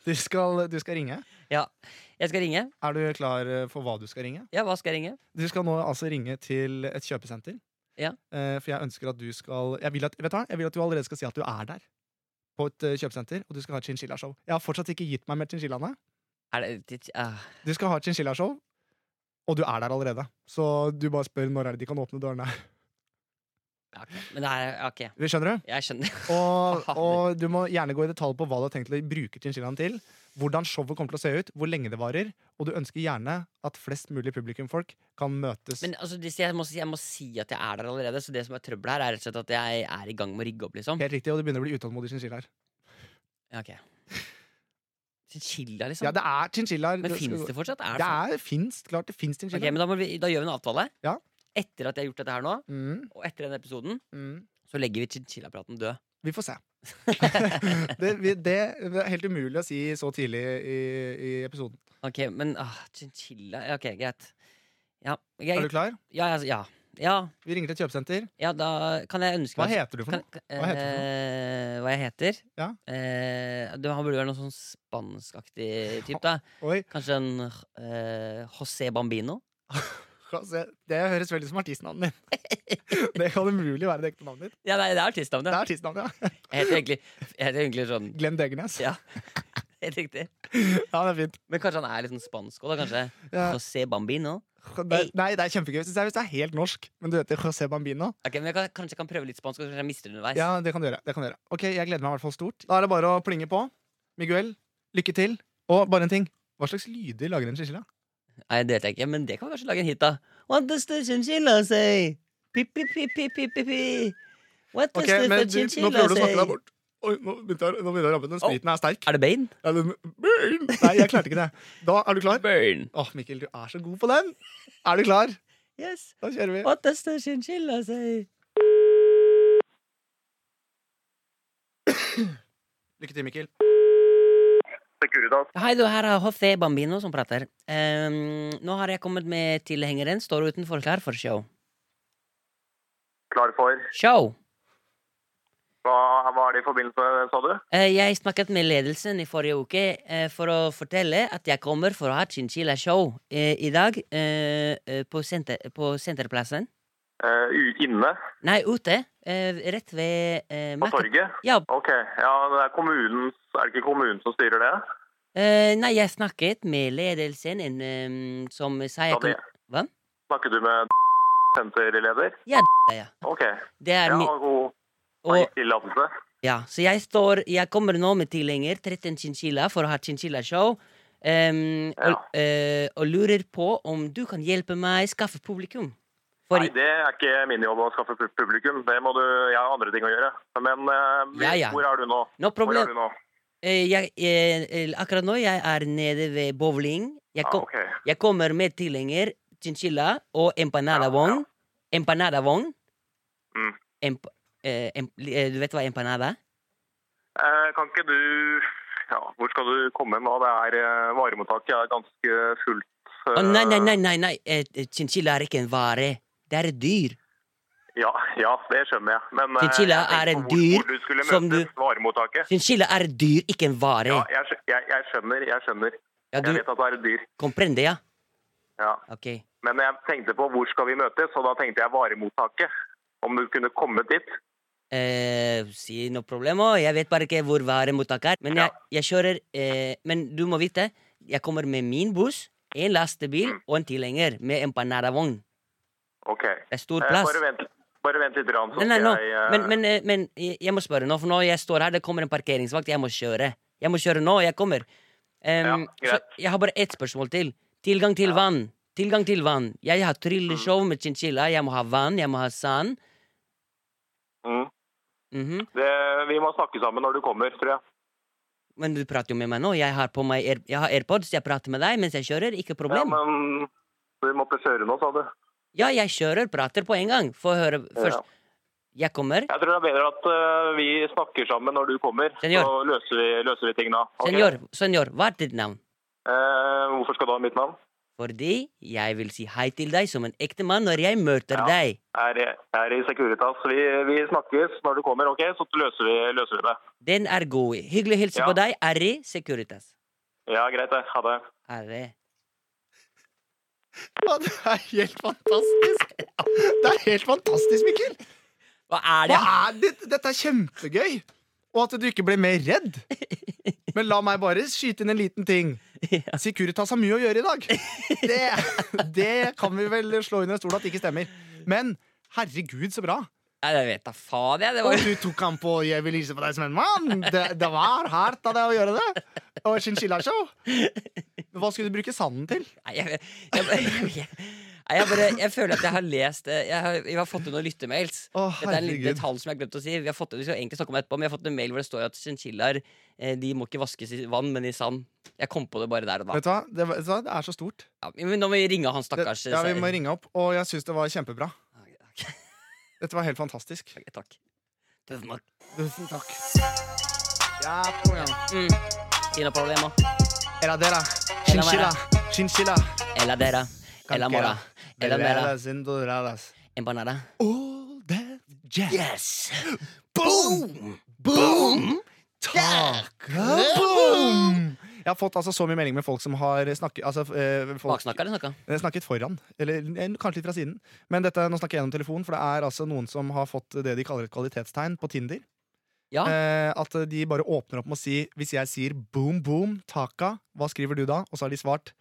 [SPEAKER 2] du, skal, du skal ringe.
[SPEAKER 3] Jeg skal ringe.
[SPEAKER 2] Er du klar eh, for hva du skal ringe?
[SPEAKER 3] Ja, hva skal jeg ringe?
[SPEAKER 2] Du skal nå altså ringe til et kjøpesenter.
[SPEAKER 3] Ja.
[SPEAKER 2] Eh, for jeg ønsker at du skal jeg vil at, Vet du hva? Jeg vil at du allerede skal si at du er der. På et eh, kjøpesenter, og du skal ha et chinchillashow. Jeg har fortsatt ikke gitt meg med chinchillaene.
[SPEAKER 3] Er det, det- ah.
[SPEAKER 2] Du skal ha et chinchillashow, og du er der allerede. Så du bare spør når er det de kan åpne dørene.
[SPEAKER 3] Ja, ok. Men det er ok,
[SPEAKER 2] Det Skjønner du?
[SPEAKER 3] jeg skjønner.
[SPEAKER 2] Og, og du må gjerne gå i detalj på hva du har tenkt å bruke chinchillaen til. Hvordan showet kommer til å se ut, hvor lenge det varer. Og du ønsker gjerne at flest mulig publikumfolk kan møtes.
[SPEAKER 3] Men altså, hvis jeg, må, si- jeg må si at jeg er der allerede, så det som er trøbbelet her, er rett og slett at jeg er i gang med å rigge opp, liksom.
[SPEAKER 2] Helt riktig, og du begynner å bli utålmodig chinchillaer.
[SPEAKER 3] Ja, ok. Chinchilla, liksom?
[SPEAKER 2] Ja, det er chinchillaer.
[SPEAKER 3] men
[SPEAKER 2] Det skal-
[SPEAKER 3] fins det fortsatt? Er det
[SPEAKER 2] Det er finst, klart det finst
[SPEAKER 3] fortsatt-
[SPEAKER 2] chinchilla.
[SPEAKER 3] Ok, men da, må vi, da gjør vi en avtale.
[SPEAKER 2] Ja.
[SPEAKER 3] Etter at jeg har gjort dette her nå,
[SPEAKER 2] mm,
[SPEAKER 3] og etter denne episoden,
[SPEAKER 2] mm.
[SPEAKER 3] så legger vi chinchillapraten død.
[SPEAKER 2] Vi får se. det, vi, det er helt umulig å si så tidlig i, i episoden.
[SPEAKER 3] Ok, men ah, chinchilla ja, Ok, greit. Ja,
[SPEAKER 2] Er
[SPEAKER 3] jeg,
[SPEAKER 2] du klar?
[SPEAKER 3] ja, altså, ja. Ja,
[SPEAKER 2] Vi ringer til et kjøpesenter.
[SPEAKER 3] ja, da kan jeg ønske
[SPEAKER 2] Hva
[SPEAKER 3] meg
[SPEAKER 2] heter du for
[SPEAKER 3] Kan,
[SPEAKER 2] noe?
[SPEAKER 3] kan,
[SPEAKER 2] Hva heter det for
[SPEAKER 3] eh, hva jeg heter?
[SPEAKER 2] Ja.
[SPEAKER 3] Eh, det han burde være noe sånn spanskaktig type, da.
[SPEAKER 2] Oi,
[SPEAKER 3] Kanskje en eh, José Bambino?
[SPEAKER 2] José. Det høres veldig ut som artistnavnet ditt. det kan umulig være det ekte navnet ditt.
[SPEAKER 3] Ja, nei, det er
[SPEAKER 2] Det
[SPEAKER 3] artistnavnet.
[SPEAKER 2] er artistnavnet, ja.
[SPEAKER 3] Jeg heter egentlig, jeg heter egentlig sånn
[SPEAKER 2] Glenn Degernes.
[SPEAKER 3] Ja. Helt riktig.
[SPEAKER 2] Ja, det er fint.
[SPEAKER 3] Men kanskje han er litt sånn spansk òg, da? Kanskje
[SPEAKER 2] Ja.
[SPEAKER 3] José Bambino?
[SPEAKER 2] Det, nei, det er kjempegøy. Hvis det er- hvis det er helt norsk, men du heter José Bambino.
[SPEAKER 3] Ok, men jeg kan, Kanskje jeg kan prøve litt spansk, og kanskje jeg mister det underveis.
[SPEAKER 2] Ja, det kan du gjøre. Det kan du gjøre. Ok, Jeg gleder meg i hvert fall stort. Da er det bare å plinge på. Miguel, lykke til. Og bare en ting. Hva slags lyder lager en chinchilla?
[SPEAKER 3] Nei, det vet jeg ikke, men det kan vi kanskje lage en hit av. What does the chinchilla say? Pip, pip, pip, pip, pip, pip, pip. What does
[SPEAKER 2] Ok, men
[SPEAKER 3] the
[SPEAKER 2] du, Nå
[SPEAKER 3] chinchilla
[SPEAKER 2] prøver du å
[SPEAKER 3] say?
[SPEAKER 2] snakke deg bort. Oi, nå begynte jeg, nå begynte jeg å rampe. Den spriten er sterk.
[SPEAKER 3] Er det Bane?
[SPEAKER 2] Ja, den, burn. Nei, jeg klarte ikke det. Da er du klar?
[SPEAKER 3] Burn.
[SPEAKER 2] Åh, Mikkel, du er så god på den. Er du klar?
[SPEAKER 3] Yes.
[SPEAKER 2] Da kjører vi.
[SPEAKER 3] What does the chinchilla say?
[SPEAKER 2] Lykke til, Mikkel.
[SPEAKER 3] Hei, du, her er José Bambino som prater. Ehm, nå har jeg kommet med tilhengeren. Står utenfor klar for show.
[SPEAKER 4] Klar for.
[SPEAKER 3] Show!
[SPEAKER 4] Hva, hva er det i forbindelse med, sa du?
[SPEAKER 3] Eh, jeg snakket med ledelsen i forrige uke eh, for å fortelle at jeg kommer for å ha chinchilla-show eh, i dag eh, eh, på, senter, på Senterplassen.
[SPEAKER 4] Eh, u- inne
[SPEAKER 3] Nei, ute. eh, rett ved eh,
[SPEAKER 4] på
[SPEAKER 3] marked-
[SPEAKER 4] torget?
[SPEAKER 3] Ja,
[SPEAKER 4] Ok, ja, det er kommunen, er det ikke kommunen som styrer det?
[SPEAKER 3] eh, nei, jeg snakket med ledelsen en, ehm, som sa jeg
[SPEAKER 4] Sa det.
[SPEAKER 3] kan... Hva?
[SPEAKER 4] Snakker du med senterleder?
[SPEAKER 3] Ja,
[SPEAKER 4] Ok,
[SPEAKER 3] Det er
[SPEAKER 4] ja,
[SPEAKER 3] mi...
[SPEAKER 4] god
[SPEAKER 3] Og,
[SPEAKER 4] gitt tillatelse.
[SPEAKER 3] Ja, så jeg står Jeg kommer nå med tilhenger 13 chinchilla for å ha chinchilla-show. ehm, og, eh, og lurer på om du kan hjelpe meg skaffe publikum. For
[SPEAKER 4] Nei, det er ikke min jobb å skaffe pu- publikum. Det må du, jeg har andre ting å gjøre. Men eh,
[SPEAKER 3] Ja, ja.
[SPEAKER 4] hvor er du nå?
[SPEAKER 3] no
[SPEAKER 4] Hvor
[SPEAKER 3] problem.
[SPEAKER 4] er du nå?
[SPEAKER 3] Eh, jeg, eh, eh, akkurat nå jeg er nede ved bowling. Jeg,
[SPEAKER 4] Ja,
[SPEAKER 3] kom,
[SPEAKER 4] Ah, ok.
[SPEAKER 3] jeg kommer med tilhenger chinchilla og empanada-vogn. Empanada-vogn.
[SPEAKER 4] Ah, Mm.
[SPEAKER 3] Emp, eh, em, eh, du vet hva empanada er?
[SPEAKER 4] Eh, kan ikke du, ja, hvor skal du komme nå? Det er eh, varemottaket er ganske fullt.
[SPEAKER 3] Å, nei, nei,
[SPEAKER 4] eh,
[SPEAKER 3] nei, nei, nei. eh, eh, chinchilla er ikke en vare. Det er et dyr.
[SPEAKER 4] Ja, ja, det skjønner jeg. Men eh,
[SPEAKER 3] Chinchilla
[SPEAKER 4] jeg tenkte
[SPEAKER 3] er en
[SPEAKER 4] på hvor-
[SPEAKER 3] dyr
[SPEAKER 4] Hvor du skulle
[SPEAKER 3] som
[SPEAKER 4] møtes, varemottaket.
[SPEAKER 3] Chinchilla er et dyr, ikke en vare.
[SPEAKER 4] Ja, jeg, skj- jeg, jeg skjønner, jeg skjønner.
[SPEAKER 3] Ja,
[SPEAKER 4] Jeg
[SPEAKER 3] du
[SPEAKER 4] vet at det er et dyr.
[SPEAKER 3] comprende, ja?
[SPEAKER 4] Ja.
[SPEAKER 3] Ok.
[SPEAKER 4] Men jeg tenkte på hvor skal vi møtes, og da tenkte jeg varemottaket. Om du kunne kommet dit.
[SPEAKER 3] Eh, si no problemo. Jeg vet bare ikke hvor varemottaket er. Men jeg, jeg kjører eh, Men du må vite, jeg kommer med min buss, en lastebil og en tilhenger med empanadavogn.
[SPEAKER 4] Ok. Eh,
[SPEAKER 3] Det er stor plass.
[SPEAKER 4] bare, vent, bare vent litt, rann, så
[SPEAKER 3] Nei, nei, nå.
[SPEAKER 4] skal jeg eh,
[SPEAKER 3] Men, men, eh, men jeg jeg må spørre nå, for nå jeg står her, det kommer en parkeringsvakt. Jeg må kjøre. Jeg må kjøre nå, jeg kommer. Em,
[SPEAKER 4] Ja,
[SPEAKER 3] så
[SPEAKER 4] greit.
[SPEAKER 3] jeg har bare ett spørsmål til. Tilgang til vann. Tilgang til vann. Jeg har trylleshow med chinchilla. Jeg må ha vann, jeg må ha sand.
[SPEAKER 4] mm,
[SPEAKER 3] Mhm.
[SPEAKER 4] det, Vi må snakke sammen når du kommer, tror jeg.
[SPEAKER 3] Men du prater jo med meg nå. Jeg har på meg Air jeg har AirPods, jeg prater med deg mens jeg kjører. Ikke
[SPEAKER 4] Ja,
[SPEAKER 3] problem.
[SPEAKER 4] men du måtte kjøre nå, sa du.
[SPEAKER 3] Ja, jeg kjører, prater på en gang. Få høre først.
[SPEAKER 4] Ja.
[SPEAKER 3] Jeg kommer.
[SPEAKER 4] Jeg tror det er bedre at eh, vi snakker sammen når du kommer,
[SPEAKER 3] Senor.
[SPEAKER 4] så løser vi, løser vi ting da. Ok?
[SPEAKER 3] Senor, senor, hva er ditt navn?
[SPEAKER 4] Eh, hvorfor skal du ha mitt navn?
[SPEAKER 3] Fordi jeg vil si hei til deg som en ekte mann når jeg møter
[SPEAKER 4] Ja.
[SPEAKER 3] deg.
[SPEAKER 4] Jeg er, jeg er i Securitas. Vi, vi snakkes når du kommer, ok? Så løser vi, løser vi det.
[SPEAKER 3] Den er god. Hyggelig å hilse
[SPEAKER 4] Ja.
[SPEAKER 3] på deg. Arri Securitas.
[SPEAKER 4] Ja, greit det. Ha det.
[SPEAKER 3] Arri.
[SPEAKER 2] Ja, det er helt fantastisk! Det er helt fantastisk, Mikkel!
[SPEAKER 3] Hva er
[SPEAKER 2] Hva
[SPEAKER 3] det?
[SPEAKER 2] er det? Dette er kjempegøy! Og at du ikke ble mer redd. Men la meg bare skyte inn en liten ting. Securitas har mye å gjøre i dag. Det, det kan vi vel slå under en stol at ikke stemmer. Men herregud, så bra.
[SPEAKER 3] Nei, jeg vet da faen, jeg. Det
[SPEAKER 2] Og
[SPEAKER 3] var...
[SPEAKER 2] du tok han på 'Jeg vil hilse på deg som en mann'. Det, det var hardt av deg å gjøre det. Og chinchilla-show. Men Hva skulle du bruke sanden til?
[SPEAKER 3] Nei, jeg, jeg, jeg, jeg, Nei, jeg, bare, jeg føler at jeg har lest eh, Jeg har, vi har fått inn noen lyttemails.
[SPEAKER 2] Å,
[SPEAKER 3] Dette er en liten
[SPEAKER 2] herregud.
[SPEAKER 3] detalj som jeg har glemt å si. Vi, har fått, vi skal egentlig snakke om det etterpå, men jeg har fått en mail hvor det står at chinchillaer eh, De må ikke vaskes i vann, men i sand. Jeg kom på det bare der og da.
[SPEAKER 2] Vet du hva? Det, var- vet du hva? det er så stort.
[SPEAKER 3] Ja, men nå må vi ringe han
[SPEAKER 2] Det,
[SPEAKER 3] stakkars. eh,
[SPEAKER 2] ja, Vi må
[SPEAKER 3] sa-
[SPEAKER 2] ringe opp. Og jeg syns det var kjempebra.
[SPEAKER 3] Ok,
[SPEAKER 2] Dette var helt fantastisk.
[SPEAKER 3] ok, Takk. Tusen takk.
[SPEAKER 2] Tusen takk. Ja, kom igjen.
[SPEAKER 3] Mm. Ingen problem.
[SPEAKER 2] Era dera. Chinchilla. Chinchilla.
[SPEAKER 3] Ella dera. Ella mora. Ella mera.
[SPEAKER 2] Velveras induradas.
[SPEAKER 3] Empanada.
[SPEAKER 2] All that jazz.
[SPEAKER 3] Yes!
[SPEAKER 2] Boom! Boom! Boom! Jeg har fått altså så mye melding med folk som har snakket altså, eh, folk,
[SPEAKER 3] Baksnakka eller snakka?
[SPEAKER 2] eh, snakket foran. Eller eh, kanskje litt fra siden. Men dette, nå snakker jeg gjennom telefon, for det er altså noen som har fått det de kaller et kvalitetstegn på Tinder.
[SPEAKER 3] Ja.
[SPEAKER 2] Eh, at de bare åpner opp med å si Hvis jeg sier boom, boom, taka, hva skriver du da? Og så har de svart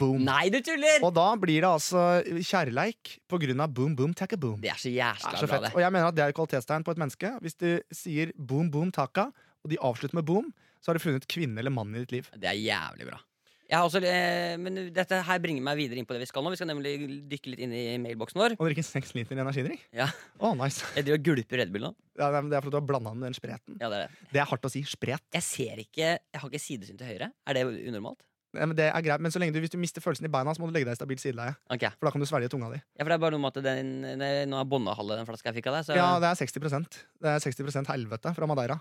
[SPEAKER 2] boom.
[SPEAKER 3] Nei, du tuller!
[SPEAKER 2] Og da blir det altså kjærleik på grunn av boom, boom, taka, boom.
[SPEAKER 3] Det er så
[SPEAKER 2] Det
[SPEAKER 3] jævla
[SPEAKER 2] er så
[SPEAKER 3] bra,
[SPEAKER 2] fett.
[SPEAKER 3] det.
[SPEAKER 2] Og jeg mener at det er et kvalitetstegn på et menneske. Hvis du sier boom, boom, taka, og de avslutter med boom, så har du funnet kvinne eller mann i ditt liv.
[SPEAKER 3] Det er jævlig bra. Jeg har også, eh, men dette her bringer meg videre inn på det vi skal nå. Vi skal nemlig dykke litt inn i mailboksen vår.
[SPEAKER 2] Og drikke 6 liter energidrikk.
[SPEAKER 3] Ja.
[SPEAKER 2] Å, nice.
[SPEAKER 3] Jeg driver og gulper Red Bull nå.
[SPEAKER 2] Ja, nei, men det er fordi du har blanda den med den spreten.
[SPEAKER 3] Ja, det er det.
[SPEAKER 2] Det er hardt å si. Spret.
[SPEAKER 3] Jeg ser ikke Jeg har ikke sidesyn til høyre. Er det unormalt?
[SPEAKER 2] Nei, Men, det er greit. men så lenge du, hvis du mister følelsen i beina, så må du legge deg i stabilt sideleie.
[SPEAKER 3] Ok, ja,
[SPEAKER 2] For da kan du svelge tunga di.
[SPEAKER 3] for det er bare noe med at den, den- Nå er bånda halve den flaska jeg fikk av deg, så
[SPEAKER 2] Ja, det er 60 Det er 60 helvete fra Madeira.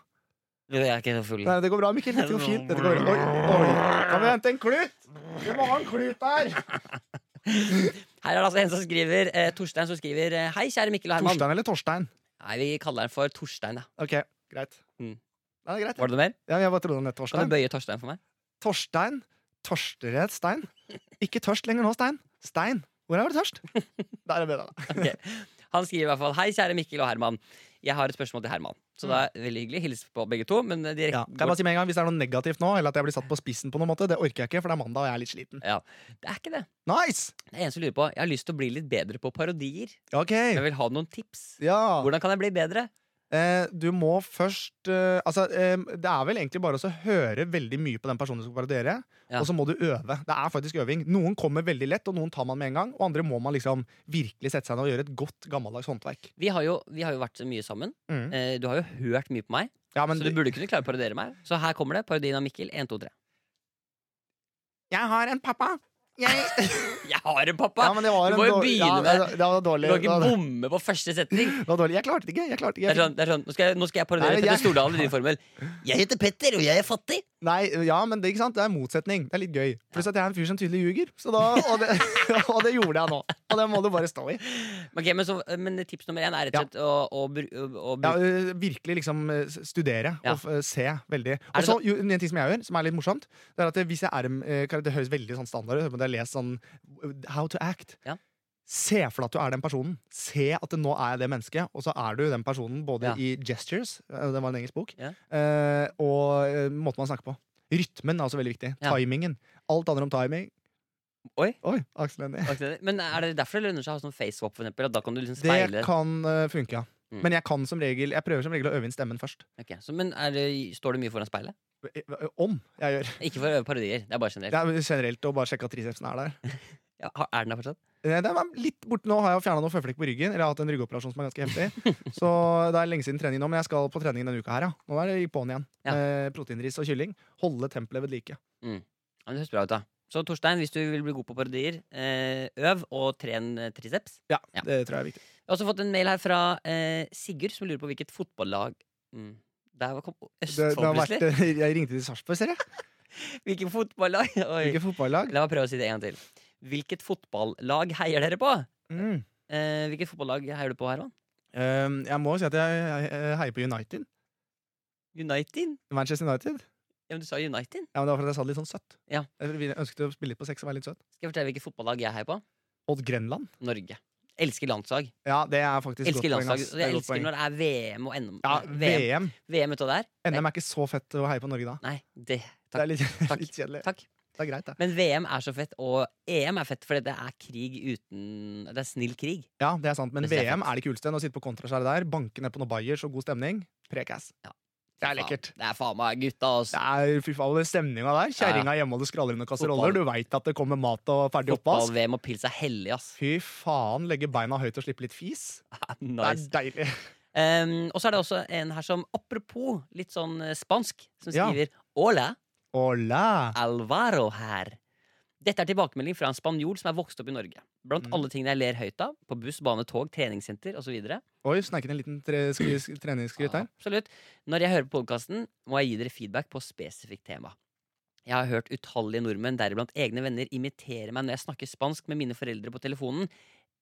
[SPEAKER 3] jeg er ikke så full.
[SPEAKER 2] Nei, det går bra, Mikkel. Dette går fint. Dette går bra. Oi, oi. Kan vi hente en klut? Du må ha en klut der!
[SPEAKER 3] Her er det altså en som skriver eh, Torstein som skriver eh, Hei, kjære Mikkel og Herman.
[SPEAKER 2] Torstein eller Torstein?
[SPEAKER 3] Nei, vi kaller den for Torstein, ja.
[SPEAKER 2] Ok, greit.
[SPEAKER 3] Mm.
[SPEAKER 2] Ja, det er greit.
[SPEAKER 3] Var det noe mer?
[SPEAKER 2] Ja, jeg bare trodde han het
[SPEAKER 3] Kan
[SPEAKER 2] Torstein.
[SPEAKER 3] du bøye Torstein for meg?
[SPEAKER 2] Torstein. Torstered Stein. Ikke tørst lenger nå, Stein. Stein. Hvor er du tørst? Der er bedre.
[SPEAKER 3] Ok. Han skriver i hvert fall Hei, kjære Mikkel og Herman. Jeg har et spørsmål til Herman. Så det er veldig hyggelig. Hils på begge to. Men eh, direkte
[SPEAKER 2] Mm. Ja. Kan jeg bare si med en gang, Hvis det er noe negativt nå, eller at jeg blir satt på spissen, på noen måte, det orker jeg ikke, for det er mandag og jeg er litt sliten.
[SPEAKER 3] Det er ikke det.
[SPEAKER 2] Nice!
[SPEAKER 3] Det er en som lurer på Jeg har lyst til å bli litt bedre på parodier.
[SPEAKER 2] Ok.
[SPEAKER 3] Jeg vil ha noen tips.
[SPEAKER 2] Ja.
[SPEAKER 3] Hvordan kan jeg bli bedre?
[SPEAKER 2] Eh, du må først eh, Altså, eh, det er vel egentlig bare å så høre veldig mye på den personen du skal parodiere,
[SPEAKER 3] Ja.
[SPEAKER 2] og så må du øve. Det er faktisk øving. Noen kommer veldig lett, og noen tar man med en gang, og andre må man liksom virkelig sette seg ned og gjøre et godt, gammeldags håndverk.
[SPEAKER 3] Vi har jo, vi har jo vært så mye sammen.
[SPEAKER 2] Mm.
[SPEAKER 3] Eh, Du har jo hørt mye på meg,
[SPEAKER 2] Ja, men
[SPEAKER 3] så du burde kunne klare å parodiere meg. Så her kommer det. Parodien av Mikkel. 1, 2, 3.
[SPEAKER 2] Jeg har en pappa! Jeg
[SPEAKER 3] Jeg har en
[SPEAKER 2] Ja,
[SPEAKER 3] pappa!
[SPEAKER 2] men det var en
[SPEAKER 3] Du må jo
[SPEAKER 2] dårlig-
[SPEAKER 3] begynne
[SPEAKER 2] ja,
[SPEAKER 3] med
[SPEAKER 2] det. Det var
[SPEAKER 3] Du
[SPEAKER 2] dårlig.
[SPEAKER 3] kan
[SPEAKER 2] Det
[SPEAKER 3] ikke
[SPEAKER 2] var,
[SPEAKER 3] bomme på første setning.
[SPEAKER 2] det var dårlig. Jeg klarte det ikke. Jeg klarte ikke.
[SPEAKER 3] Det er
[SPEAKER 2] Jeg
[SPEAKER 3] sånn, det er sånn. Nå, skal jeg, nå skal jeg
[SPEAKER 2] Nei,
[SPEAKER 3] parodiere
[SPEAKER 2] men
[SPEAKER 3] Petter
[SPEAKER 2] jeg-
[SPEAKER 3] Stordalen i din formel. Jeg heter Petter, og jeg er fattig.
[SPEAKER 2] fikk- Nei, ja, men det, ikke sant? det er motsetning. Det er litt gøy. Pluss at jeg er en fyr som tydelig ljuger. Så da, og, det, og det gjorde jeg nå. Og det må du bare stå i.
[SPEAKER 3] Ok, men, så, men tips nummer én er rett og slett å, å, bru- å, å
[SPEAKER 2] Ja,
[SPEAKER 3] bruke
[SPEAKER 2] ø, virkelig liksom ø, s- studere
[SPEAKER 3] Ja.
[SPEAKER 2] og f- ø, se veldig. Og så jo, en ting som jeg gjør, som er litt morsomt, eh, det er at ø, hvis jeg er en ø, karakter, det høres veldig sånn standard ut, men jeg har lest sånn ø, How to act.
[SPEAKER 3] Ja.
[SPEAKER 2] Se for deg at du er den personen. Se at det nå er jeg det mennesket, og så er du den personen både
[SPEAKER 3] Ja.
[SPEAKER 2] i gestures, eh, det var en engelsk bok,
[SPEAKER 3] Ja.
[SPEAKER 2] eh, og eh, måten man snakker på. Rytmen er også veldig viktig.
[SPEAKER 3] Ja.
[SPEAKER 2] Timingen. Alt handler om timing.
[SPEAKER 3] Oi.
[SPEAKER 2] Oi, Aksel Hennie.
[SPEAKER 3] Men er det derfor det lønner seg å ha sånn face swap? For eksempel, at da kan du liksom
[SPEAKER 2] Det
[SPEAKER 3] speile
[SPEAKER 2] kan eh, funke, ja.
[SPEAKER 3] Mm.
[SPEAKER 2] Men jeg kan som regel Jeg prøver som regel å øve inn stemmen først.
[SPEAKER 3] Ok, så, Men er det, står du mye foran speilet?
[SPEAKER 2] Eh, eh, Om jeg gjør.
[SPEAKER 3] Ikke for å øve parodier. Det er bare generelt.
[SPEAKER 2] Det er generelt å bare sjekke at tricepsen er der.
[SPEAKER 3] Ja, har- er den der fortsatt?
[SPEAKER 2] Eh, Den var litt borte nå har jeg fjerna noen føflekk på ryggen. Eller jeg har hatt en ryggoperasjon som er ganske heftig. Så det er lenge siden trening nå, men jeg skal på trening denne uka her, ja. Nå er det i på'n igjen.
[SPEAKER 3] Ja.
[SPEAKER 2] Eh, proteinris og kylling. Holde tempelet ved like.
[SPEAKER 3] Ja, men det høres bra ut, da. Så Torstein, hvis du vil bli god på parodier, eh, øv og tren eh, triceps.
[SPEAKER 2] Ja,
[SPEAKER 3] Ja.
[SPEAKER 2] det tror jeg er viktig.
[SPEAKER 3] Jeg har også fått en mail her fra eh, Sigurd, som lurer på hvilket fotballag mm. Der kom
[SPEAKER 2] Det, det
[SPEAKER 3] Østfold
[SPEAKER 2] har vært,
[SPEAKER 3] plutselig.
[SPEAKER 2] jeg ringte til Sarpsborg, ser jeg.
[SPEAKER 3] Hvilket fotballag? Oi.
[SPEAKER 2] Hvilket fotballag?
[SPEAKER 3] La meg prøve å si det en gang til. Hvilket fotballag heier dere på?
[SPEAKER 2] Mm.
[SPEAKER 3] Eh, hvilket fotballag heier du på, Herman?
[SPEAKER 2] Um, jeg må jo si at jeg, jeg, jeg heier på United.
[SPEAKER 3] United?
[SPEAKER 2] Manchester United.
[SPEAKER 3] Ja, men du sa United.
[SPEAKER 2] Ja, men Det var fordi jeg sa det litt sånn søtt.
[SPEAKER 3] Ja.
[SPEAKER 2] Jeg ønsket å spille litt på sex og være litt søt.
[SPEAKER 3] Skal jeg fortelle hvilket fotballag jeg heier på?
[SPEAKER 2] Odd Grenland.
[SPEAKER 3] Norge. Elsker landslag.
[SPEAKER 2] Ja, det er faktisk
[SPEAKER 3] Elsker
[SPEAKER 2] godt poeng.
[SPEAKER 3] landslag.
[SPEAKER 2] ass.
[SPEAKER 3] Og
[SPEAKER 2] Det er
[SPEAKER 3] jeg
[SPEAKER 2] godt
[SPEAKER 3] elsker
[SPEAKER 2] poeng.
[SPEAKER 3] når det er VM og NM.
[SPEAKER 2] ja,
[SPEAKER 3] VM,
[SPEAKER 2] VM.
[SPEAKER 3] VM vet du hva det er?
[SPEAKER 2] NM er ikke så fett å heie på Norge da.
[SPEAKER 3] Nei, det
[SPEAKER 2] Det
[SPEAKER 3] Takk.
[SPEAKER 2] er litt,
[SPEAKER 3] Takk.
[SPEAKER 2] litt kjedelig.
[SPEAKER 3] Takk.
[SPEAKER 2] Det er greit, det.
[SPEAKER 3] Men VM er så fett, og EM er fett, fordi det er krig uten Det er snill krig.
[SPEAKER 2] Ja, det er sant, Men
[SPEAKER 3] Det synes jeg er
[SPEAKER 2] VM er det kuleste. Å sitte på kontraskjæret der, banke ned på noen bayers og god stemning. Prekass.
[SPEAKER 3] Ja.
[SPEAKER 2] Det er
[SPEAKER 3] Faen,
[SPEAKER 2] lekkert.
[SPEAKER 3] Det er faen meg gutta,
[SPEAKER 2] Det
[SPEAKER 3] altså.
[SPEAKER 2] er fy faen, den stemninga der. Kjerringa hjemme og det skraller under kasseroller. Du veit at det kommer mat og ferdig oppvask.
[SPEAKER 3] Fotball-VM og pils er hellig, ass. Ah,
[SPEAKER 2] Fy faen, legge beina høyt og slippe litt fis.
[SPEAKER 3] nice.
[SPEAKER 2] Det er deilig.
[SPEAKER 3] Em, og så er det også en her som, apropos litt sånn eh, spansk, som
[SPEAKER 2] Ja.
[SPEAKER 3] skriver Hola,
[SPEAKER 2] Hola!
[SPEAKER 3] Alvaro her. Dette er tilbakemelding fra en spanjol som er vokst opp i Norge. Blant
[SPEAKER 2] Mm.
[SPEAKER 3] alle tingene jeg ler høyt av, på buss, bane, tog, treningssenter osv.
[SPEAKER 2] Oi, snerket en liten tre- skry- sk- treningsskryt der.
[SPEAKER 3] Absolutt. Når jeg hører på podkasten, må jeg gi dere feedback på spesifikt tema. Jeg har hørt utallige nordmenn, deriblant egne venner, imitere meg når jeg snakker spansk med mine foreldre på telefonen.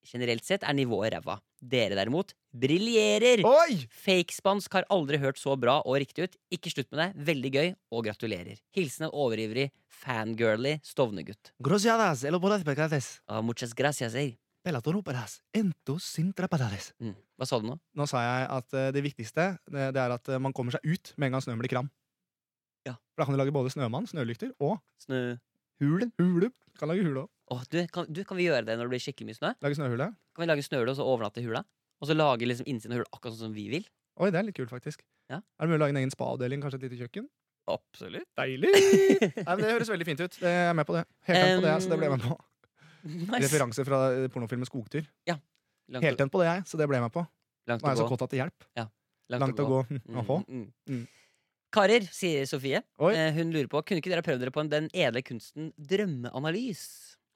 [SPEAKER 3] Generelt sett er nivået ræva. Dere derimot briljerer!
[SPEAKER 2] Oi!
[SPEAKER 3] Fake-spansk har aldri hørt så bra og riktig ut. Ikke slutt med det. Veldig gøy, og gratulerer. Hilsen en overivrig, fangirly Stovner-gutt.
[SPEAKER 2] Grosiadas, el opolas pecades,
[SPEAKER 3] Ah, muchas gracias, ey.
[SPEAKER 2] pelatoróperas, entos sin trapadades.
[SPEAKER 3] Mm. Hva sa du nå?
[SPEAKER 2] Nå sa jeg at eh, det viktigste det, det er at eh, man kommer seg ut med en gang snøen blir kram.
[SPEAKER 3] Ja.
[SPEAKER 2] For da kan du lage både snømann, snølykter og
[SPEAKER 3] Snø...
[SPEAKER 2] hule. hule. Kan lage hule òg.
[SPEAKER 3] Åh, du, kan, du, kan vi gjøre det når det blir skikkelig mye snø?
[SPEAKER 2] Lage snøhule.
[SPEAKER 3] Kan vi lage snøhule og så overnatte i hula? Og så lage liksom innsiden av hula akkurat sånn som vi vil?
[SPEAKER 2] Oi, det er litt kult, faktisk.
[SPEAKER 3] Ja.
[SPEAKER 2] Er det mulig å lage en egen spa-avdeling? Kanskje et lite kjøkken?
[SPEAKER 3] Absolutt.
[SPEAKER 2] Deilig! Nei, men Det høres veldig fint ut. Det- Jeg er med på det. Helt på det, så det ble jeg med på.
[SPEAKER 3] Nice.
[SPEAKER 2] Referanse fra eh, pornofilmen Skogtur.
[SPEAKER 3] Langt,
[SPEAKER 2] Helt
[SPEAKER 3] å,
[SPEAKER 2] tent på det, jeg, så det ble jeg med på.
[SPEAKER 3] langt,
[SPEAKER 2] Nå er jeg
[SPEAKER 3] å
[SPEAKER 2] så
[SPEAKER 3] gå.
[SPEAKER 2] kåt at det hjelper.
[SPEAKER 3] Langt,
[SPEAKER 2] Langt å gå.
[SPEAKER 3] Mm,
[SPEAKER 2] Å få.
[SPEAKER 3] mm.
[SPEAKER 2] Mm.
[SPEAKER 3] Karer, sier Sofie.
[SPEAKER 2] Oi.
[SPEAKER 3] Eh, hun lurer på Kunne ikke dere ha prøvd dere på en, den edle kunsten drømmeanalys?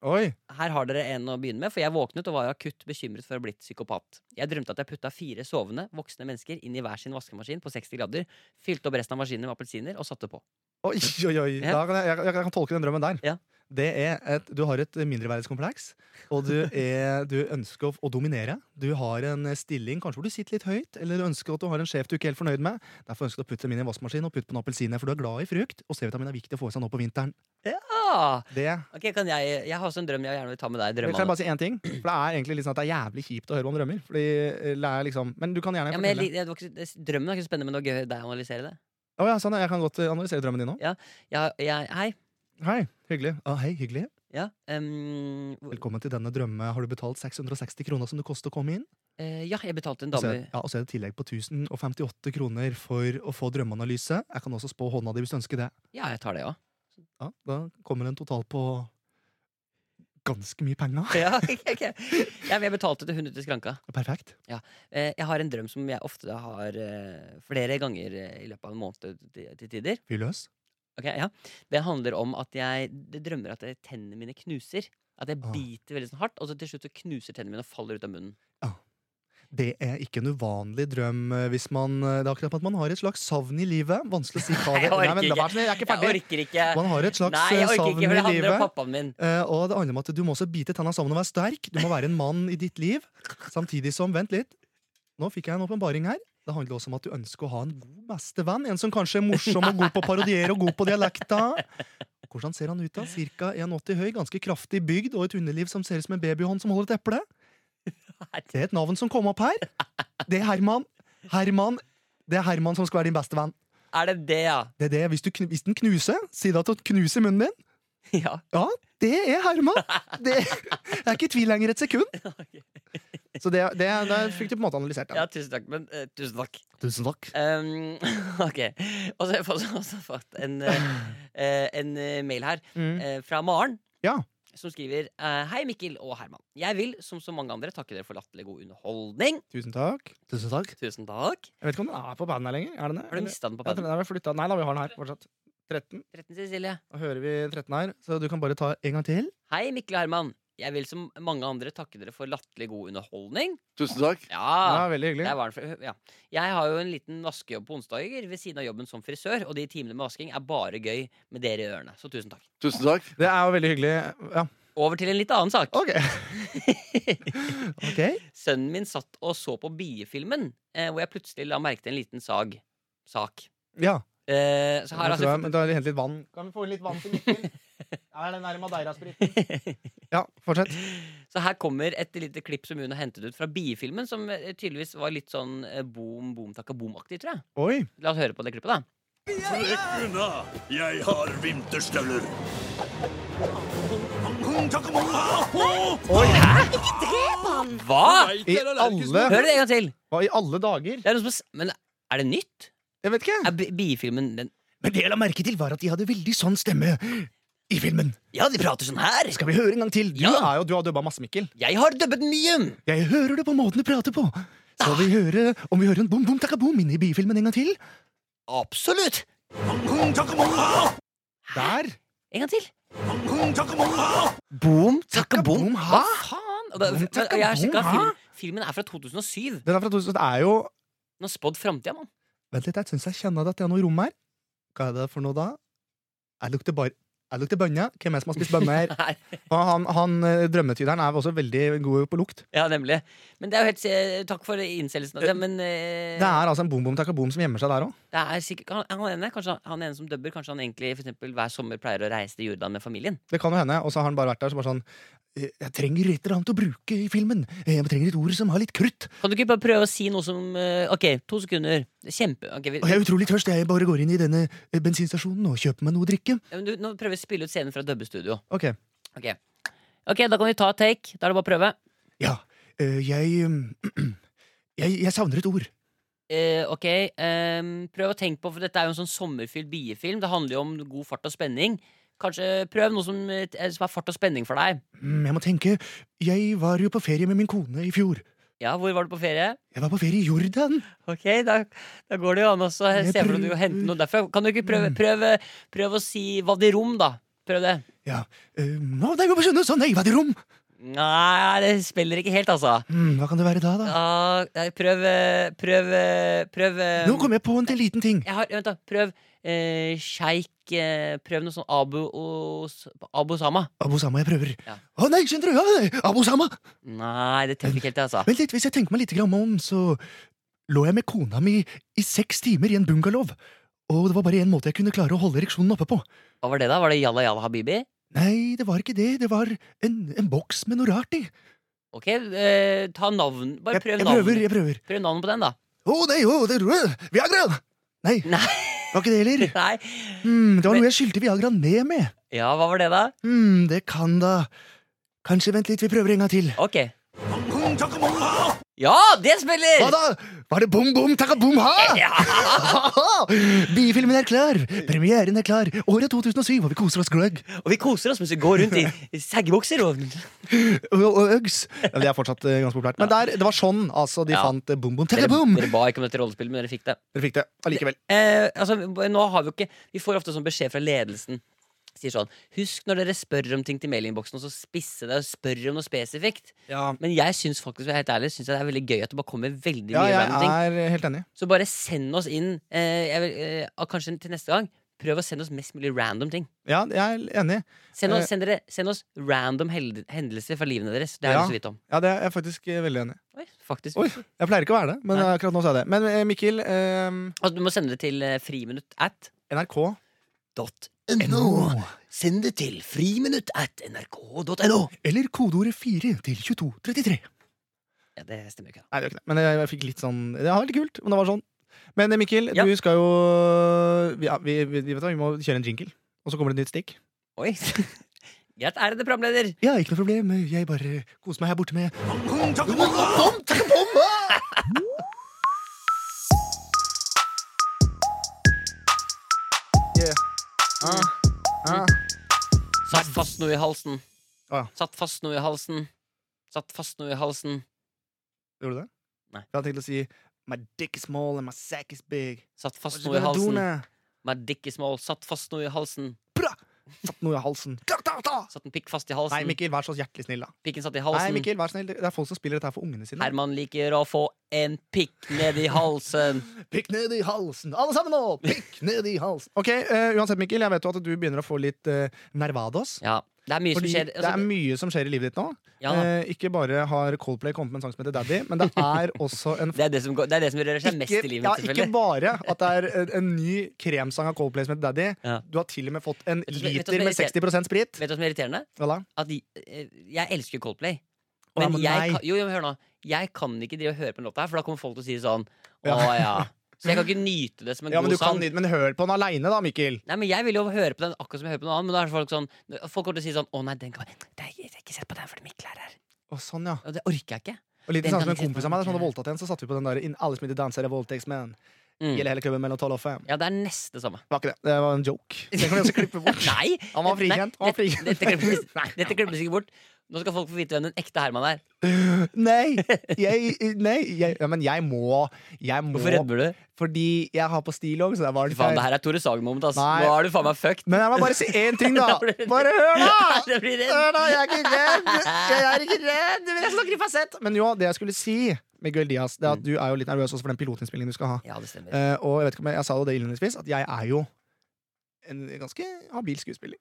[SPEAKER 2] Oi!
[SPEAKER 3] Her har dere en å begynne med, for jeg våknet og var jo akutt bekymret for å ha blitt psykopat. Jeg drømte at jeg putta fire sovende, voksne mennesker inn i hver sin vaskemaskin på 60 grader, fylte opp resten av maskinen med appelsiner og satte på.
[SPEAKER 2] Oi, oi, oi.
[SPEAKER 3] Ja.
[SPEAKER 2] Da kan jeg, jeg, jeg kan tolke den drømmen der.
[SPEAKER 3] Ja.
[SPEAKER 2] Det er et, Du har et mindreverdighetskompleks, og du, er, du ønsker å, å dominere. Du har en stilling kanskje hvor du sitter litt høyt, eller du ønsker at du har en sjef du ikke er helt fornøyd med. Derfor ønsker du å putte dem inn i en vaskemaskin og putte på en appelsin, for du er glad i frukt. Og C-vitamin er viktig å få i seg nå på vinteren.
[SPEAKER 3] Ah,
[SPEAKER 2] Det
[SPEAKER 3] ok, kan jeg, jeg har også en drøm jeg gjerne vil ta med deg.
[SPEAKER 2] Kan jeg
[SPEAKER 3] Drømmene.
[SPEAKER 2] bare si én ting? For det er egentlig litt sånn at det er jævlig kjipt å høre om drømmer. Fordi eh, det er liksom Men du kan gjerne
[SPEAKER 3] Ja, men jeg,
[SPEAKER 2] fortelle.
[SPEAKER 3] lik- det var ikke, det, drømmen er ikke så spennende, men det var gøy deg å analysere det.
[SPEAKER 2] Å ja, sånn, ja, jeg kan godt eh, analysere drømmen din nå.
[SPEAKER 3] Jeg, jeg, hei.
[SPEAKER 2] Hei, hyggelig. Å, hei, hyggelig.
[SPEAKER 3] Ja, ehm, hvor-
[SPEAKER 2] Velkommen til denne drømme. Har du betalt 660 kroner som det koster å komme inn?
[SPEAKER 3] eh, ja, jeg betalte en
[SPEAKER 2] Og så
[SPEAKER 3] dame
[SPEAKER 2] er, ja, og så er det tillegg på 1058 kroner for å få drømmeanalyse. Jeg kan også spå hånda di hvis du ønsker det.
[SPEAKER 3] Ja, jeg tar det, ja.
[SPEAKER 2] Ja, da kommer det en total på ganske mye penger.
[SPEAKER 3] ja, ok, ok. ja men jeg betalte til hun ute i skranka.
[SPEAKER 2] Perfekt.
[SPEAKER 3] Eh, jeg har en drøm som jeg ofte har eh, flere ganger eh, i løpet av en måned til- til tider.
[SPEAKER 2] Fyr løs.
[SPEAKER 3] Ok, ja. Det handler om at jeg det drømmer at eh, tennene mine knuser. At jeg
[SPEAKER 2] Ah.
[SPEAKER 3] biter veldig sånn hardt, og så til slutt så knuser tennene mine og faller ut av munnen.
[SPEAKER 2] Det er ikke en uvanlig drøm eh, hvis man eh, Det er akkurat som at man har et slags savn i livet. Vanskelig å si hva
[SPEAKER 3] Nei,
[SPEAKER 2] det
[SPEAKER 3] jeg orker
[SPEAKER 2] Nei, men la
[SPEAKER 3] ikke.
[SPEAKER 2] være, jeg er ikke
[SPEAKER 3] Jeg
[SPEAKER 2] ferdig.
[SPEAKER 3] orker ikke!
[SPEAKER 2] Man har et slags
[SPEAKER 3] Nei,
[SPEAKER 2] eh,
[SPEAKER 3] jeg orker
[SPEAKER 2] savn
[SPEAKER 3] ikke, for det
[SPEAKER 2] i
[SPEAKER 3] handler om
[SPEAKER 2] livet.
[SPEAKER 3] pappaen min.
[SPEAKER 2] Eh, og det handler om at du må også bite tenna sammen og være sterk. Du må være en mann i ditt liv. Samtidig som Vent litt. Nå fikk jeg en åpenbaring her. Det handler også om at du ønsker å ha en god bestevenn. En som kanskje er morsom og god på å parodiere og god på dialekta. Hvordan ser han ut, da? Cirka 1,80 høy, ganske kraftig bygd og et underliv som ser ut som en babyhånd som holder et eple. Det er et navn som kom opp her. Det er Herman. Herman. Det er Herman som skal være din beste venn.
[SPEAKER 3] Er det det, ja?
[SPEAKER 2] Det er det. Hvis, du, kn- hvis den knuser, si da at den knuser munnen din.
[SPEAKER 3] Ja.
[SPEAKER 2] Ja, det er Herman. Det, jeg er ikke i tvil lenger et sekund.
[SPEAKER 3] Ok.
[SPEAKER 2] Så det, det, det fikk du på en måte analysert.
[SPEAKER 3] ja
[SPEAKER 2] Da.
[SPEAKER 3] tusen takk. Men eh, tusen takk.
[SPEAKER 2] Tusen takk.
[SPEAKER 3] Um, ok. Og så har jeg fått, også fått en, eh, eh, en eh, mail her
[SPEAKER 2] Mm.
[SPEAKER 3] eh, fra Maren.
[SPEAKER 2] Ja.
[SPEAKER 3] Som skriver eh, Hei, Mikkel og Herman. Jeg vil, som så mange andre, takke dere for latterlig god underholdning.
[SPEAKER 2] Tusen takk. Tusen takk.
[SPEAKER 3] Tusen takk.
[SPEAKER 2] Jeg vet ikke om den er på banen her lenger. Er den det?
[SPEAKER 3] Har du mista den på
[SPEAKER 2] Ja, den
[SPEAKER 3] paden?
[SPEAKER 2] er vel flyttet. Nei da, vi har den her fortsatt. 13.
[SPEAKER 3] 13, Cecilie.
[SPEAKER 2] Da hører vi 13 her, så du kan bare ta en gang til.
[SPEAKER 3] Hei, Mikkel og Herman. Jeg vil som mange andre takke dere for latterlig god underholdning.
[SPEAKER 5] Tusen takk.
[SPEAKER 2] Ja,
[SPEAKER 3] Ja,
[SPEAKER 2] veldig hyggelig.
[SPEAKER 3] der var den fra- ja. Jeg har jo en liten vaskejobb på onsdager ved siden av jobben som frisør, og de timene med vasking er bare gøy med dere i ørene. Så tusen takk.
[SPEAKER 5] Tusen takk.
[SPEAKER 2] Det er jo veldig hyggelig. Ja,
[SPEAKER 3] Over til en litt annen sak.
[SPEAKER 2] ok. ok.
[SPEAKER 3] Sønnen min satt og så på biefilmen, eh, hvor jeg plutselig la merke til en liten sag. Sak.
[SPEAKER 2] Ja.
[SPEAKER 3] Eh, så her
[SPEAKER 2] Da
[SPEAKER 3] har
[SPEAKER 2] tror jeg,
[SPEAKER 3] jeg
[SPEAKER 2] men da henter litt vann. Kan vi få inn litt vann til Mikkel? Er den der Madeira-spriten? Ja, fortsett.
[SPEAKER 3] Så her kommer et lite klipp som hun har hentet ut fra biefilmen, som eh, tydeligvis var litt sånn eh, boom, boom, takka boom-aktig, tror jeg.
[SPEAKER 2] Oi.
[SPEAKER 3] La oss høre på det klippet, da.
[SPEAKER 6] Trekk unna! Jeg har vinterstøvler.
[SPEAKER 2] Oi.
[SPEAKER 3] Hva?!
[SPEAKER 2] I alle,
[SPEAKER 3] Hør det en gang til!
[SPEAKER 2] hva, I alle dager?
[SPEAKER 3] Det er noe som, er s- men er det nytt?
[SPEAKER 2] Jeg vet ikke.
[SPEAKER 3] Er bi- biefilmen den
[SPEAKER 2] Men det jeg la merke til, var at de hadde veldig sånn stemme i filmen.
[SPEAKER 3] Ja, de prater sånn her!
[SPEAKER 2] Skal vi høre en gang til? Du,
[SPEAKER 3] Ja.
[SPEAKER 2] er jo, du har dubba masse, Mikkel.
[SPEAKER 3] Jeg har dubbet mye!
[SPEAKER 2] Jeg hører det på måten du prater på. Skal vi høre om vi hører en bom bom takaboom inne i bifilmen en gang til?
[SPEAKER 3] Absolutt!
[SPEAKER 2] Der.
[SPEAKER 3] En gang til. Boom, takka boom, ha! Hva faen? Og da,
[SPEAKER 2] Boom, takka,
[SPEAKER 3] og jeg har sjekka
[SPEAKER 2] boom, ha?
[SPEAKER 3] film, filmen er fra 2007.
[SPEAKER 2] Den er fra 2000. Det er jo
[SPEAKER 3] Den har spådd framtida, mann.
[SPEAKER 2] Vent litt, jeg syns jeg kjenner at det er noe rom her. Hva er det for noe da? Jeg lukter bare jeg lukter bønne. Hvem er det som har spist bønne her?
[SPEAKER 3] Her.
[SPEAKER 2] Og Han, han eh, drømmetyderen er også veldig god på lukt.
[SPEAKER 3] Ja, nemlig. Men det er jo helt se- Takk for innselgelsen av det, men eh,
[SPEAKER 2] Det er altså en bom bom takaboom som gjemmer seg der òg.
[SPEAKER 3] det er sikkert, han, han, ene, kanskje, han- han ene som dubber, kanskje han egentlig for eksempel, hver sommer pleier å reise til Jordan med familien?
[SPEAKER 2] Det kan jo hende. Og så har han bare vært der så bare sånn eh, Jeg trenger et eller annet å bruke i filmen. Eh, Jeg trenger et ord som har litt krutt.
[SPEAKER 3] Kan du ikke bare prøve å si noe som eh, Ok, to sekunder. Kjempe... ok, vi,
[SPEAKER 2] Og jeg er utrolig tørst. Jeg bare går inn i denne eh, bensinstasjonen og kjøper meg noe å drikke.
[SPEAKER 3] Ja, men du, nå prøver vi å spille ut scenen fra dubbestudio.
[SPEAKER 2] Ok.
[SPEAKER 3] Ok, Ok, da kan vi ta take. Da er det bare å prøve.
[SPEAKER 2] Ja. eh, jeg, eh, jeg Jeg savner et ord.
[SPEAKER 3] Eh, ok, ehm, Prøv å tenke på, for dette er jo en sånn sommerfylt biefilm. Det handler jo om god fart og spenning. Kanskje prøv noe som, eh, som er fart og spenning for deg.
[SPEAKER 2] Mm, Jeg må tenke. Jeg var jo på ferie med min kone i fjor.
[SPEAKER 3] Ja, hvor var du på ferie?
[SPEAKER 2] Jeg var på ferie i Jordan.
[SPEAKER 3] Ok, da, da går det jo an å se
[SPEAKER 2] Jeg
[SPEAKER 3] for deg at du
[SPEAKER 2] prøver-
[SPEAKER 3] henter noe derfra. Kan du ikke
[SPEAKER 2] Mm.
[SPEAKER 3] prøve, prøve, prøve å si hva det rom, da? Prøv det.
[SPEAKER 2] Ja. eh, Nå, nei, vi må skjønne, sånn, nei, hva er det rom?
[SPEAKER 3] Nei, det spiller ikke helt, altså.
[SPEAKER 2] Mm, hva kan det være da, da?
[SPEAKER 3] Ah, nei, prøv eh, Prøv eh, Prøv eh,
[SPEAKER 2] Nå kom jeg på en til liten ting.
[SPEAKER 3] jeg har, Vent, da. Prøv eh, sjeik. Eh, prøv noe sånn Abu Os, Abu Osama.
[SPEAKER 2] Abu Sama, jeg prøver.
[SPEAKER 3] Ja.
[SPEAKER 2] Å nei, skjønner du? Ja, Abu Sama!
[SPEAKER 3] Nei, det treffer ikke helt, det, altså.
[SPEAKER 2] Vent litt, hvis jeg tenker meg litt grann om, så lå jeg med kona mi i seks timer i en bungalow. Og det var bare én måte jeg kunne klare å holde ereksjonen oppe på.
[SPEAKER 3] Hva var det, da? Var det Jalla Jalla Habibi?
[SPEAKER 2] Nei, det var ikke det. Det var en, en boks med noe rart i.
[SPEAKER 3] Ok, eh, ta navn. Bare
[SPEAKER 2] Jeg,
[SPEAKER 3] prøv
[SPEAKER 2] jeg
[SPEAKER 3] navn.
[SPEAKER 2] prøver, jeg prøver.
[SPEAKER 3] Prøv navn på den, da.
[SPEAKER 2] Å nei, å, det er rød! Viagra! Nei,
[SPEAKER 3] Nei.
[SPEAKER 2] var ikke det heller.
[SPEAKER 3] Nei.
[SPEAKER 2] Hmm, det var
[SPEAKER 3] Men-
[SPEAKER 2] noe jeg skyldte Viagra ned med.
[SPEAKER 3] Ja, hva var det, da?
[SPEAKER 2] Hmm, det kan da Kanskje vent litt, vi prøver en gang til.
[SPEAKER 3] Ok. Ja, det spiller!
[SPEAKER 2] Hva da? Var det bom, bom, takka, bom, ha?
[SPEAKER 3] Ja.
[SPEAKER 2] Bifilmen er klar, premieren er klar, året 2007, og vi koser oss gløgg.
[SPEAKER 3] Og vi koser oss mens vi går rundt i i seggebukser og
[SPEAKER 2] Og, og øgs. Ja, men det er fortsatt eh, ganske populært. Men der, det var sånn altså, de
[SPEAKER 3] Ja.
[SPEAKER 2] fant eh, bom, bom,
[SPEAKER 3] dere,
[SPEAKER 2] takka, bom.
[SPEAKER 3] dere ba ikke om dette rollespillet, men dere fikk det.
[SPEAKER 2] Dere fikk det allikevel.
[SPEAKER 3] Eh, altså, nå har vi jo ikke Vi får ofte sånn beskjed fra ledelsen. Sier sånn Husk når dere spør om ting til mailinnboksen, så spisse det og spør om noe spesifikt.
[SPEAKER 2] Ja,
[SPEAKER 3] Men jeg syns faktisk, for å være helt ærlig, synes jeg det er veldig gøy at det bare kommer veldig mye
[SPEAKER 2] jeg
[SPEAKER 3] random ting.
[SPEAKER 2] er helt enig.
[SPEAKER 3] Så bare send oss inn, eh, jeg vil, eh, ah, kanskje til neste gang, prøv å sende oss mest mulig random ting.
[SPEAKER 2] Ja, jeg er enig.
[SPEAKER 3] Send
[SPEAKER 2] Eh.
[SPEAKER 3] oss, send dere, send oss random held- hendelser fra livene deres. Det har
[SPEAKER 2] Ja.
[SPEAKER 3] jeg lyst til å vite om.
[SPEAKER 2] Ja, det er jeg faktisk eh, veldig enig.
[SPEAKER 3] Oi, faktisk.
[SPEAKER 2] Oi, jeg pleier ikke å være det, men
[SPEAKER 3] Nei.
[SPEAKER 2] akkurat nå sa jeg det. Men eh, Mikkel, eh,
[SPEAKER 3] Altså, du må sende det til eh, friminutt at
[SPEAKER 2] NRK
[SPEAKER 3] .no. Send det til friminutt at nrk.no.
[SPEAKER 2] Eller kodeordet 4 til 2233.
[SPEAKER 3] Ja, det stemmer jo ikke. da.
[SPEAKER 2] Nei, det gjør ikke det. Men jeg, jeg fikk litt sånn Det var veldig kult, men det var sånn. Men eh, Mikkel,
[SPEAKER 3] Ja.
[SPEAKER 2] du skal jo ja, vi, vi, vi, vet hva, vi må kjøre en jingle, og så kommer det et nytt stikk.
[SPEAKER 3] Oi. Greit, ærede programleder.
[SPEAKER 2] Ja, ikke noe problem. Jeg bare koser meg her borte med yeah. Mm.
[SPEAKER 3] Ah,
[SPEAKER 2] ah.
[SPEAKER 3] Satt fast noe i halsen.
[SPEAKER 2] Å, ja.
[SPEAKER 3] Satt fast noe i halsen. Satt fast noe i halsen.
[SPEAKER 2] Gjorde du det?
[SPEAKER 3] Nei.
[SPEAKER 2] Jeg hadde tenkt å si My dick is small and my sack is big.
[SPEAKER 3] Satt
[SPEAKER 2] What
[SPEAKER 3] fast
[SPEAKER 2] you
[SPEAKER 3] noe i
[SPEAKER 2] gonna do
[SPEAKER 3] halsen.
[SPEAKER 2] now?
[SPEAKER 3] My dick is small. Satt fast noe i halsen.
[SPEAKER 2] Satt noe i halsen. Ta, ta, ta!
[SPEAKER 3] Satt en pikk fast i
[SPEAKER 2] Nei,
[SPEAKER 3] halsen.
[SPEAKER 2] Mikkel, vær så hjertelig snill, da.
[SPEAKER 3] Pikken satt i
[SPEAKER 2] Nei,
[SPEAKER 3] halsen.
[SPEAKER 2] Mikkel, vær snill. Det er folk som spiller dette her for ungene sine.
[SPEAKER 3] Herman liker å få en pikk ned i halsen.
[SPEAKER 2] Pikk ned i halsen! Alle sammen nå! Pikk ned i halsen! Ok, eh, Uansett, Mikkel, jeg vet jo at du begynner å få litt eh, nervados.
[SPEAKER 3] Ja, det er mye
[SPEAKER 2] Fordi
[SPEAKER 3] som skjer.
[SPEAKER 2] det er
[SPEAKER 3] Altså,
[SPEAKER 2] mye som skjer i livet ditt nå.
[SPEAKER 3] ja, da.
[SPEAKER 2] Eh, ikke bare har Coldplay kommet med en sang som heter Daddy, men det er også en
[SPEAKER 3] det, er det, som går, det er det som rører seg mest i livet
[SPEAKER 2] ja,
[SPEAKER 3] mitt,
[SPEAKER 2] ikke
[SPEAKER 3] selvfølgelig.
[SPEAKER 2] bare at det er en, en ny kremsang av Coldplay som heter Daddy.
[SPEAKER 3] Ja.
[SPEAKER 2] Du har til og med fått en
[SPEAKER 3] du hva- vet
[SPEAKER 2] liter
[SPEAKER 3] du hva som
[SPEAKER 2] med
[SPEAKER 3] irriterer-
[SPEAKER 2] 60 sprit.
[SPEAKER 3] Vet du hva som er irriterende?
[SPEAKER 2] Voilà.
[SPEAKER 3] At de- eh, jeg elsker Coldplay.
[SPEAKER 2] Å, ja,
[SPEAKER 3] Men
[SPEAKER 2] men
[SPEAKER 3] jeg
[SPEAKER 2] nei.
[SPEAKER 3] kan, jo, jo, men hør nå. Jeg kan ikke drive og høre på en låt her, for da kommer folk til å si sånn Å
[SPEAKER 2] Ja.
[SPEAKER 3] ja. Så jeg kan ikke nyte det som en
[SPEAKER 2] Ja, men,
[SPEAKER 3] god
[SPEAKER 2] du kan,
[SPEAKER 3] sang.
[SPEAKER 2] men hør på den aleine, da, Mikkel.
[SPEAKER 3] Nei, men Jeg vil jo høre på den akkurat som jeg hører på noe annet. Men da er det folk sånn Folk kommer til å si sånn Å nei, den kan det er, Jeg har ikke sett på den fordi Mikkel er her.
[SPEAKER 2] Å, sånn, ja.
[SPEAKER 3] Og det orker jeg ikke.
[SPEAKER 2] Og litt det
[SPEAKER 3] Den
[SPEAKER 2] samme
[SPEAKER 3] kan
[SPEAKER 2] som en
[SPEAKER 3] ikke
[SPEAKER 2] kompis av meg der som hadde voldtatt en, så satte vi på den der In alle som ikke danser, er voldtektsmenn.
[SPEAKER 3] Mm.
[SPEAKER 2] Gjelder hele klubben mellom 12 og 5.
[SPEAKER 3] Ja, det er nesten det samme.
[SPEAKER 2] Var ikke det. Det var en joke. Den kan vi også klippe bort.
[SPEAKER 3] Nei!
[SPEAKER 2] Han var frikjent. Han
[SPEAKER 3] Nei,
[SPEAKER 2] var frikjent.
[SPEAKER 3] Dette, dette klippes- nei, dette klippes ikke bort. Nå skal folk få vite hvem den ekte Herman er.
[SPEAKER 2] Nei! Jeg, nei jeg, ja, men jeg må. Jeg må
[SPEAKER 3] Hvorfor rødmer du?
[SPEAKER 2] Fordi jeg har på stilong, så det er
[SPEAKER 3] Fy
[SPEAKER 2] varmt
[SPEAKER 3] Faen, det
[SPEAKER 2] her.
[SPEAKER 3] her er Tore Sagen-moment, ass.
[SPEAKER 2] Nei.
[SPEAKER 3] Nå er du faen meg fucked.
[SPEAKER 2] Men jeg må bare si én ting, da.
[SPEAKER 3] Da blir det-
[SPEAKER 2] Bare hør, da!
[SPEAKER 3] Jeg blir redd.
[SPEAKER 2] Hør da, jeg er ikke redd! Jeg er ikke redd! Men jeg snakker i fasett! Men jo, det jeg skulle si, Miguel Diaz, det er at du er jo litt nervøs også for den pilotinnspillingen du skal ha.
[SPEAKER 3] Ja, det stemmer.
[SPEAKER 2] Eh, og jeg vet ikke om jeg, jeg sa jo det innledningsvis, at jeg er jo en ganske habil skuespiller.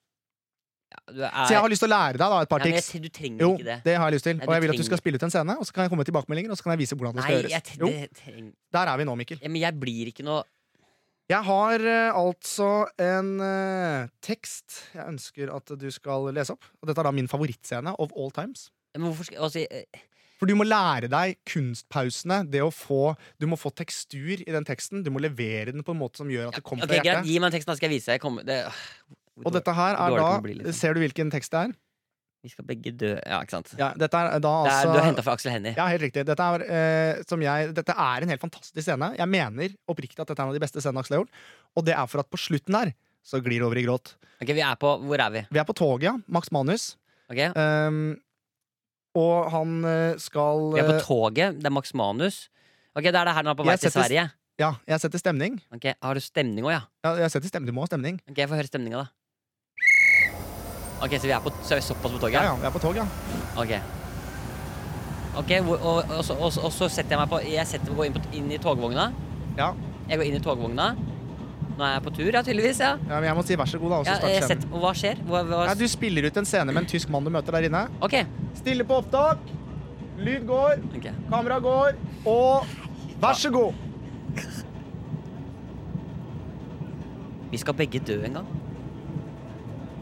[SPEAKER 3] Du er,
[SPEAKER 2] Så jeg har lyst til å lære deg da et
[SPEAKER 3] ja,
[SPEAKER 2] par
[SPEAKER 3] men jeg,
[SPEAKER 2] tips.
[SPEAKER 3] ser- du trenger
[SPEAKER 2] Jo,
[SPEAKER 3] ikke det.
[SPEAKER 2] det har jeg lyst til.
[SPEAKER 3] Nei,
[SPEAKER 2] Og
[SPEAKER 3] du
[SPEAKER 2] jeg vil at du
[SPEAKER 3] trenger-
[SPEAKER 2] skal spille ut en scene, og så kan jeg komme med tilbakemeldinger, og så kan jeg vise hvordan det
[SPEAKER 3] Nei,
[SPEAKER 2] skal
[SPEAKER 3] jeg,
[SPEAKER 2] gjøres.
[SPEAKER 3] tre-
[SPEAKER 2] Jo,
[SPEAKER 3] det treng,
[SPEAKER 2] der er vi nå, Mikkel.
[SPEAKER 3] ja, men jeg blir ikke noe
[SPEAKER 2] Jeg har eh, altså en eh, tekst jeg ønsker at du skal lese opp. Og dette er da min favorittscene of all times.
[SPEAKER 3] Men hvorfor skal altså, jeg-
[SPEAKER 2] For du må lære deg kunstpausene. Det å få, du må få tekstur i den teksten. Du må levere den på en måte som gjør at det kommer
[SPEAKER 3] Ok,
[SPEAKER 2] fra
[SPEAKER 3] greit,
[SPEAKER 2] hjertet.
[SPEAKER 3] Gi meg teksten, da skal jeg vise deg. Kom, det, ah,
[SPEAKER 2] Og dette her er
[SPEAKER 3] Hvor dårlig kan det bli,
[SPEAKER 2] da
[SPEAKER 3] liksom?
[SPEAKER 2] Ser du hvilken tekst det er?
[SPEAKER 3] Vi skal begge dø. Ja, ikke sant?
[SPEAKER 2] Ja, dette er da
[SPEAKER 3] det er,
[SPEAKER 2] altså
[SPEAKER 3] du har henta fra Aksel Hennie.
[SPEAKER 2] ja, helt riktig. Dette er, eh, som jeg, dette er en helt fantastisk scene. Jeg mener oppriktig at dette er en av de beste scenene Aksel har gjort. Og det er for at på slutten her så glir det over i gråt.
[SPEAKER 3] Ok, vi er på Hvor er vi?
[SPEAKER 2] Vi er på toget, ja. Max Manus.
[SPEAKER 3] Ok,
[SPEAKER 2] Ehm, og han eh, skal
[SPEAKER 3] Vi er på
[SPEAKER 2] eh,
[SPEAKER 3] toget. Det er Max Manus. Ok, Da er det her når han er på vei
[SPEAKER 2] Jeg
[SPEAKER 3] til
[SPEAKER 2] setter-
[SPEAKER 3] Sverige.
[SPEAKER 2] eh, Ja, jeg setter stemning.
[SPEAKER 3] Ok, Har du stemning òg, ja?
[SPEAKER 2] Ja, jeg setter stemning. Du må ha stemning.
[SPEAKER 3] Ok, Få høre stemninga, da. Ok, Så vi er, på, så er vi såpass på
[SPEAKER 2] Ja,
[SPEAKER 3] toget?
[SPEAKER 2] ja, vi er på tog, ja.
[SPEAKER 3] Ok. Ok, hvor, og, og, så- og, så- og så setter jeg meg på Jeg setter meg går inn, på, inn i togvogna.
[SPEAKER 2] ja.
[SPEAKER 3] Jeg går inn i togvogna. Nå er jeg på tur, ja, tydeligvis. ja,
[SPEAKER 2] Ja, men jeg må si vær så god, da. Og så
[SPEAKER 3] ja
[SPEAKER 2] starte
[SPEAKER 3] jeg
[SPEAKER 2] scenen.
[SPEAKER 3] setter, Og hva skjer? Hva, hva,
[SPEAKER 2] Nei, du spiller ut en scene med en tysk mann du møter der inne.
[SPEAKER 3] Ok.
[SPEAKER 2] Stille på opptak. Lyd går.
[SPEAKER 3] ok.
[SPEAKER 2] Kamera går. Og vær så god!
[SPEAKER 3] Vi skal begge dø en gang.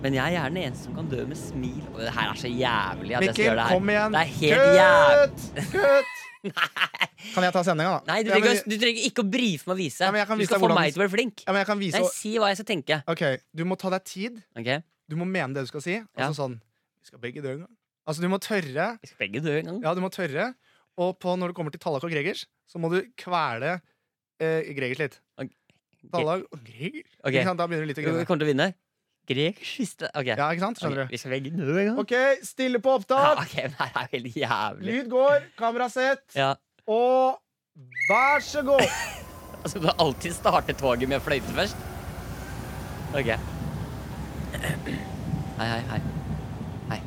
[SPEAKER 3] Men jeg er gjerne den eneste som kan dø med smil. Og det her er så jævlig at jeg skal
[SPEAKER 2] Mikkel,
[SPEAKER 3] gjøre det her.
[SPEAKER 2] kom igjen.
[SPEAKER 3] Det er helt jævlig.
[SPEAKER 2] Kutt! Kan jeg ta sendinga, da?
[SPEAKER 3] Nei, du
[SPEAKER 2] ja,
[SPEAKER 3] trenger,
[SPEAKER 2] men,
[SPEAKER 3] ikke å- du trenger ikke å brife meg og vise.
[SPEAKER 2] Ja, men jeg kan
[SPEAKER 3] du
[SPEAKER 2] vise
[SPEAKER 3] skal
[SPEAKER 2] deg
[SPEAKER 3] få
[SPEAKER 2] hvordan-
[SPEAKER 3] meg til å være flink.
[SPEAKER 2] ja, men jeg kan vise
[SPEAKER 3] Nei, si hva jeg skal tenke.
[SPEAKER 2] Ok, Du må ta deg tid.
[SPEAKER 3] Ok?
[SPEAKER 2] Du må mene det du skal si.
[SPEAKER 3] Ja.
[SPEAKER 2] Altså sånn Vi skal begge dø en gang. Altså, du må tørre.
[SPEAKER 3] Vi skal begge dø en gang.
[SPEAKER 2] Ja, du må tørre. Og på, når det kommer til Tallak og Gregers, så må du kvele eh, Gregers litt.
[SPEAKER 3] Ok.
[SPEAKER 2] Tallak og Gregers?
[SPEAKER 3] Ok.
[SPEAKER 2] Ikke sant? Da begynner du litt å
[SPEAKER 3] Vi
[SPEAKER 2] grine.
[SPEAKER 3] kommer til å vinne. Grek siste Ok.
[SPEAKER 2] Ja, ikke sant? Skjønner
[SPEAKER 3] Ok,
[SPEAKER 2] du?
[SPEAKER 3] Vi skal begge dø en gang.
[SPEAKER 2] OK, stille på
[SPEAKER 3] Ja,
[SPEAKER 2] opptak.
[SPEAKER 3] ok, men det her er helt jævlig.
[SPEAKER 2] Lyd går, kamera sett,
[SPEAKER 3] Ja,
[SPEAKER 2] og vær så god!
[SPEAKER 3] altså Du har alltid startet toget med fløyte først. Ok. Hei, hei, hei. Hei.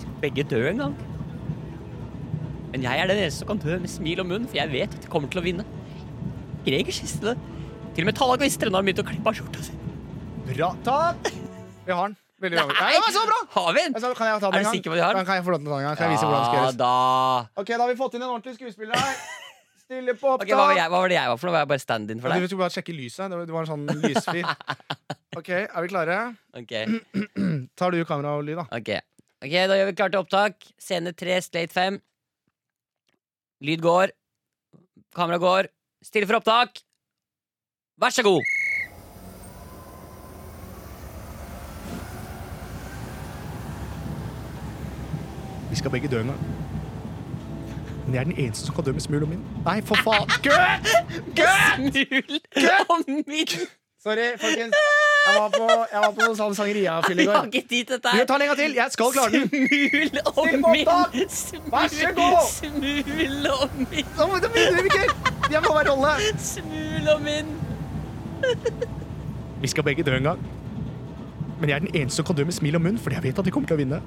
[SPEAKER 3] Skal begge dø en gang? Men jeg er den eneste som kan dø med smil og munn, for jeg vet at jeg kommer til å vinne. Greger Siste Til og med Tallak Vistre har begynt å klippe av skjorta si.
[SPEAKER 2] Bra. Takk! Vi har den. Veldig bra. Ja, det var så bra!
[SPEAKER 3] Har vi den?
[SPEAKER 2] Altså, kan jeg ta
[SPEAKER 3] Er
[SPEAKER 2] den
[SPEAKER 3] du
[SPEAKER 2] en gang?
[SPEAKER 3] sikker på at vi har den?
[SPEAKER 2] Kan- Kan jeg få lov til å ta den en gang? Kan jeg vise hvordan det skal
[SPEAKER 3] Ja
[SPEAKER 2] gjøres?
[SPEAKER 3] da.
[SPEAKER 2] Ok, Da har vi fått inn en ordentlig skuespiller her. Stille på
[SPEAKER 3] Ok, hva, var
[SPEAKER 2] opptak.
[SPEAKER 3] jeg, hva var det jeg var for noe? Var jeg bare stand-in for
[SPEAKER 2] Ja,
[SPEAKER 3] deg?
[SPEAKER 2] Du skulle bare sjekke lyset. Det var- Du var en sånn lysfyr. Ok, er vi klare?
[SPEAKER 3] Ok,
[SPEAKER 2] Tar du kamera og lyd, da?
[SPEAKER 3] ok Ok, da gjør vi klart til opptak. Scene 3, slate 5. Lyd går. Kamera går. Stille for opptak. Vær så god.
[SPEAKER 2] Vi skal begge dø en gang. Men jeg er den eneste som kan dø med smul om min. Nei, for faen! Gud!
[SPEAKER 3] Smul om min!
[SPEAKER 2] Sorry, folkens. Jeg var på, jeg var på sånn sangeria-fyll i
[SPEAKER 3] Jeg har
[SPEAKER 2] går.
[SPEAKER 3] ikke tid til dette
[SPEAKER 2] Vi
[SPEAKER 3] her.
[SPEAKER 2] tar lenger til! Jeg skal klare den!
[SPEAKER 3] Smul om
[SPEAKER 2] Still på opptak!
[SPEAKER 3] min!
[SPEAKER 2] Vær så god!
[SPEAKER 3] Smul, smul om min!
[SPEAKER 2] Nå må- nå begynner vi ikke! Jeg må være rolle!
[SPEAKER 3] Smul om min!
[SPEAKER 2] Vi skal begge dø en gang. Men jeg er den eneste som kan dø med smil om munn, fordi jeg vet at de kommer til å vinne.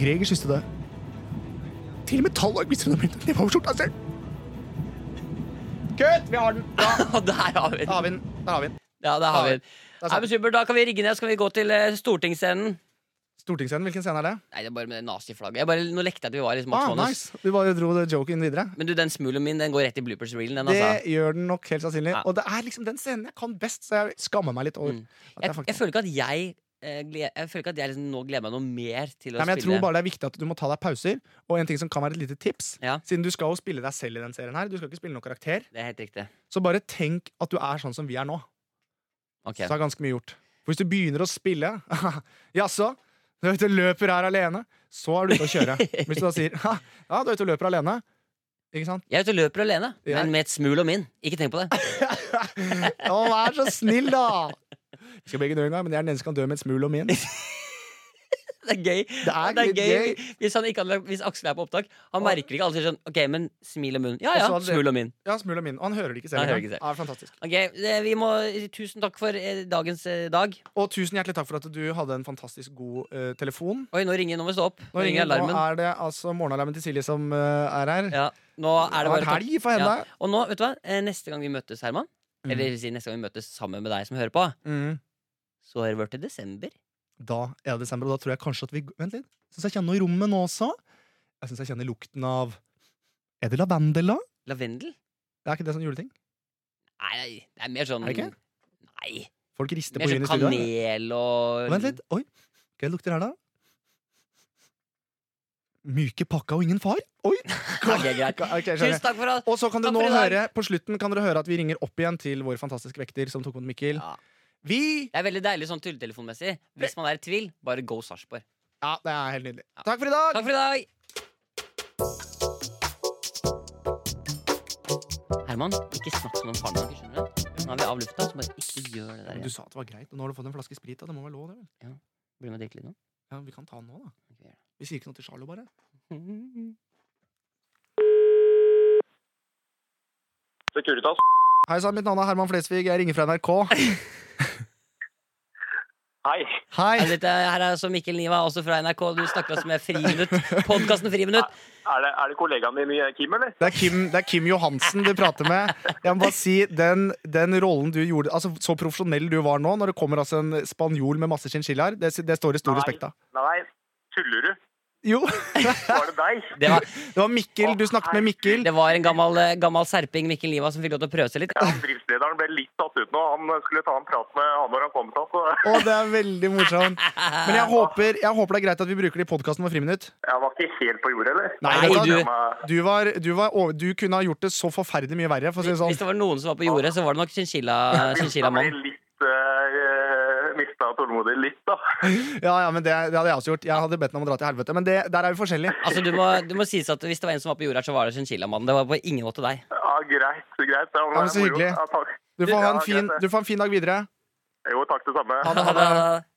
[SPEAKER 2] Greger syns det. Til og med Tallag visste hun om min. Det var jo skjorta selv. Kutt! Vi har den. Da
[SPEAKER 3] Og der har vi den.
[SPEAKER 2] har vi den. Da har vi den.
[SPEAKER 3] Ja, der har vi den.
[SPEAKER 2] Da
[SPEAKER 3] Nei,
[SPEAKER 2] sa-
[SPEAKER 3] men super, da kan vi rigge ned, så kan vi gå til eh, stortingsscenen.
[SPEAKER 2] Stortingsscenen, hvilken scene er det?
[SPEAKER 3] Nei, det er bare med det naziflagget. Jeg bare, nå lekte jeg at vi var i liksom,
[SPEAKER 2] Ah,
[SPEAKER 3] Max Manus.
[SPEAKER 2] nice. Du bare dro det joken videre.
[SPEAKER 3] Men du, den smulen min den går rett i bloopers-reelen. den,
[SPEAKER 2] Det
[SPEAKER 3] Altså.
[SPEAKER 2] gjør den nok helt sannsynlig.
[SPEAKER 3] Ja.
[SPEAKER 2] Og det er liksom den scenen jeg kan best, så jeg skammer meg litt over.
[SPEAKER 3] Mm.
[SPEAKER 2] At
[SPEAKER 3] Jeg,
[SPEAKER 2] jeg,
[SPEAKER 3] jeg
[SPEAKER 2] faktisk...
[SPEAKER 3] føler ikke at jeg eh, gled, Jeg føler ikke at jeg liksom nå gleder meg noe mer til å
[SPEAKER 2] Nei, men jeg
[SPEAKER 3] spille.
[SPEAKER 2] tror bare det er viktig at du må ta deg pauser. Og en ting som kan være et lite tips,
[SPEAKER 3] Ja.
[SPEAKER 2] siden du skal jo spille deg selv i den serien her, du skal ikke spille noen karakter,
[SPEAKER 3] Det er helt riktig.
[SPEAKER 2] så bare tenk at du er sånn som vi er nå.
[SPEAKER 3] Ok.
[SPEAKER 2] Så er ganske mye gjort. For hvis du begynner å spille Jaså, du er ute og løper her alene, så er du ute å kjøre. Men Hvis du da sier «Ha, ja, du er ute og løper alene, ikke sant?
[SPEAKER 3] Jeg er ute og løper alene,
[SPEAKER 2] Ja.
[SPEAKER 3] men med et smul om min. Ikke tenk på det.
[SPEAKER 2] Mm. Å, vær så snill, da! Vi skal begge dø en gang, men jeg er den eneste som kan dø med et smul om min.
[SPEAKER 3] Det er gøy.
[SPEAKER 2] Det er
[SPEAKER 3] Det er
[SPEAKER 2] litt
[SPEAKER 3] gøy.
[SPEAKER 2] gøy.
[SPEAKER 3] Hvis, han ikke hadde, lagt- hvis Aksel er på opptak, han
[SPEAKER 2] Og-
[SPEAKER 3] merker ikke alle sier sånn OK, men smil om munnen. Ja
[SPEAKER 2] Og
[SPEAKER 3] ja,
[SPEAKER 2] så hadde-
[SPEAKER 3] smul om min.
[SPEAKER 2] Ja, smul og min. Og han hører det ikke
[SPEAKER 3] Han
[SPEAKER 2] selv.
[SPEAKER 3] hører
[SPEAKER 2] engang.
[SPEAKER 3] ikke selv.
[SPEAKER 2] Ja, det er fantastisk.
[SPEAKER 3] Ok, det, vi må, Tusen takk for eh, dagens eh, dag.
[SPEAKER 2] Og tusen hjertelig takk for at du hadde en fantastisk god eh, telefon.
[SPEAKER 3] Oi, nå ringer, nå må vi stå opp. Nå,
[SPEAKER 2] Nå, ringer,
[SPEAKER 3] ringer
[SPEAKER 2] nå
[SPEAKER 3] alarmen.
[SPEAKER 2] er det altså morgenalarmen til Silje som eh, er her.
[SPEAKER 3] Ja, nå er det
[SPEAKER 2] har
[SPEAKER 3] bare
[SPEAKER 2] vært
[SPEAKER 3] å ta-
[SPEAKER 2] helg for henne.
[SPEAKER 3] Og nå, vet du hva? Eh, Neste gang vi møtes, Herman, eller det vil si neste gang vi møtes sammen med deg som hører på,
[SPEAKER 2] Mm.
[SPEAKER 3] så har det vært til desember.
[SPEAKER 2] Da er det desember, og da tror jeg kanskje at vi Vent litt. Syns jeg kjenner noe i rommet nå også. Jeg syns jeg kjenner lukten av Er det lavendel, da?
[SPEAKER 3] Lavendel?
[SPEAKER 2] Det er ikke det sånn juleting?
[SPEAKER 3] Nei, det er mer sånn
[SPEAKER 2] Er det ikke?
[SPEAKER 3] Nei.
[SPEAKER 2] Folk rister på
[SPEAKER 3] Mer
[SPEAKER 2] øynene
[SPEAKER 3] sånn
[SPEAKER 2] i studio. her.
[SPEAKER 3] kanel og
[SPEAKER 2] Vent litt. Oi, hva lukter det her, da? Myke pakka og ingen far? Oi!
[SPEAKER 3] Ok, greit.
[SPEAKER 2] Ok, skjønner.
[SPEAKER 3] Tusen takk for at
[SPEAKER 2] Og så kan du
[SPEAKER 3] Takk
[SPEAKER 2] nå
[SPEAKER 3] for i dag.
[SPEAKER 2] høre På slutten kan dere høre at vi ringer opp igjen til vår fantastiske vekter som tok mot Mikkel.
[SPEAKER 3] Ja.
[SPEAKER 2] Vi
[SPEAKER 3] Det er veldig deilig sånn tulletelefonmessig. Hvis man er i tvil, bare go Sarpsborg.
[SPEAKER 2] Ja, det er helt nydelig. Takk for i dag!
[SPEAKER 3] Takk for i dag! Herman, ikke snakk som om faren din. ikke skjønner du? Nå er vi av lufta, så bare ikke gjør det der.
[SPEAKER 2] Du
[SPEAKER 3] igjen.
[SPEAKER 2] sa at det var greit, og nå har du fått en flaske sprit. Da. Det må være lov, det vel?
[SPEAKER 3] Blir du med og drikker litt nå?
[SPEAKER 2] Ja, Vi kan ta den nå, da.
[SPEAKER 3] Ok, gjør det.
[SPEAKER 2] Vi sier ikke noe til Charlo, bare.
[SPEAKER 4] Securitas.
[SPEAKER 2] Hei sann, mitt navn er Herman Flesvig. Jeg ringer fra NRK.
[SPEAKER 4] Hei.
[SPEAKER 3] Her
[SPEAKER 2] Hei!
[SPEAKER 3] er litt, eh, Her er altså Mikkel Niva, også fra NRK. Du snakker oss med Friminutt. Podkasten Friminutt.
[SPEAKER 4] Er det, er det kollegaen din i Kim, eller?
[SPEAKER 2] Det er, Kim, det er Kim Johansen du prater med. Jeg må bare si, den, den rollen du gjorde Altså, Så profesjonell du var nå, når det kommer altså en spanjol med masse chinchillaer, det, det står i stor
[SPEAKER 4] Nei.
[SPEAKER 2] respekt av.
[SPEAKER 4] Nei, tuller du?
[SPEAKER 2] Jo,
[SPEAKER 4] Var det deg?
[SPEAKER 3] Det var,
[SPEAKER 2] det var Mikkel. Du snakket med Mikkel.
[SPEAKER 3] det var en gammel, eh, gammel serping, Mikkel Niva, som fikk lov til å prøve seg litt.
[SPEAKER 4] Ja, driftslederen ble litt tatt ut nå. Han skulle ta en prat med han når han kom seg. så-
[SPEAKER 2] Å, det er veldig morsomt. Men jeg håper, jeg håper det er greit at vi bruker det i podkasten vår Friminutt.
[SPEAKER 4] Jeg var ikke helt på jordet, eller?
[SPEAKER 2] Nei,
[SPEAKER 3] Nei,
[SPEAKER 2] vet du,
[SPEAKER 3] du-
[SPEAKER 2] hva? du, var, du, var, over- du kunne ha gjort det så forferdelig mye verre, for å si det
[SPEAKER 3] Hvis
[SPEAKER 2] sånn.
[SPEAKER 3] det var noen som var på jordet, så var det nok chinchilla-
[SPEAKER 4] Jeg
[SPEAKER 3] chinchilla-mann.
[SPEAKER 4] ble litt uh, mista tålmodig litt, da.
[SPEAKER 2] Ja, ja, men det, det hadde jeg også gjort. Jeg hadde bedt ham om å dra til helvete. Men det, der er vi forskjellige.
[SPEAKER 3] Altså, du må, du må sies at Hvis det var en som var på jordet her, så var det chinchilla-mannen. Det var på ingen måte deg.
[SPEAKER 4] Ja, greit. greit. Det var
[SPEAKER 2] Ja, men så
[SPEAKER 4] moro.
[SPEAKER 2] hyggelig.
[SPEAKER 4] Ja, takk.
[SPEAKER 2] Du får ha en
[SPEAKER 4] Ja,
[SPEAKER 2] fin,
[SPEAKER 4] greit, det.
[SPEAKER 2] du får ha en fin dag videre.
[SPEAKER 4] Jo, takk det samme.
[SPEAKER 2] Ha det, ha det.
[SPEAKER 3] Ha det.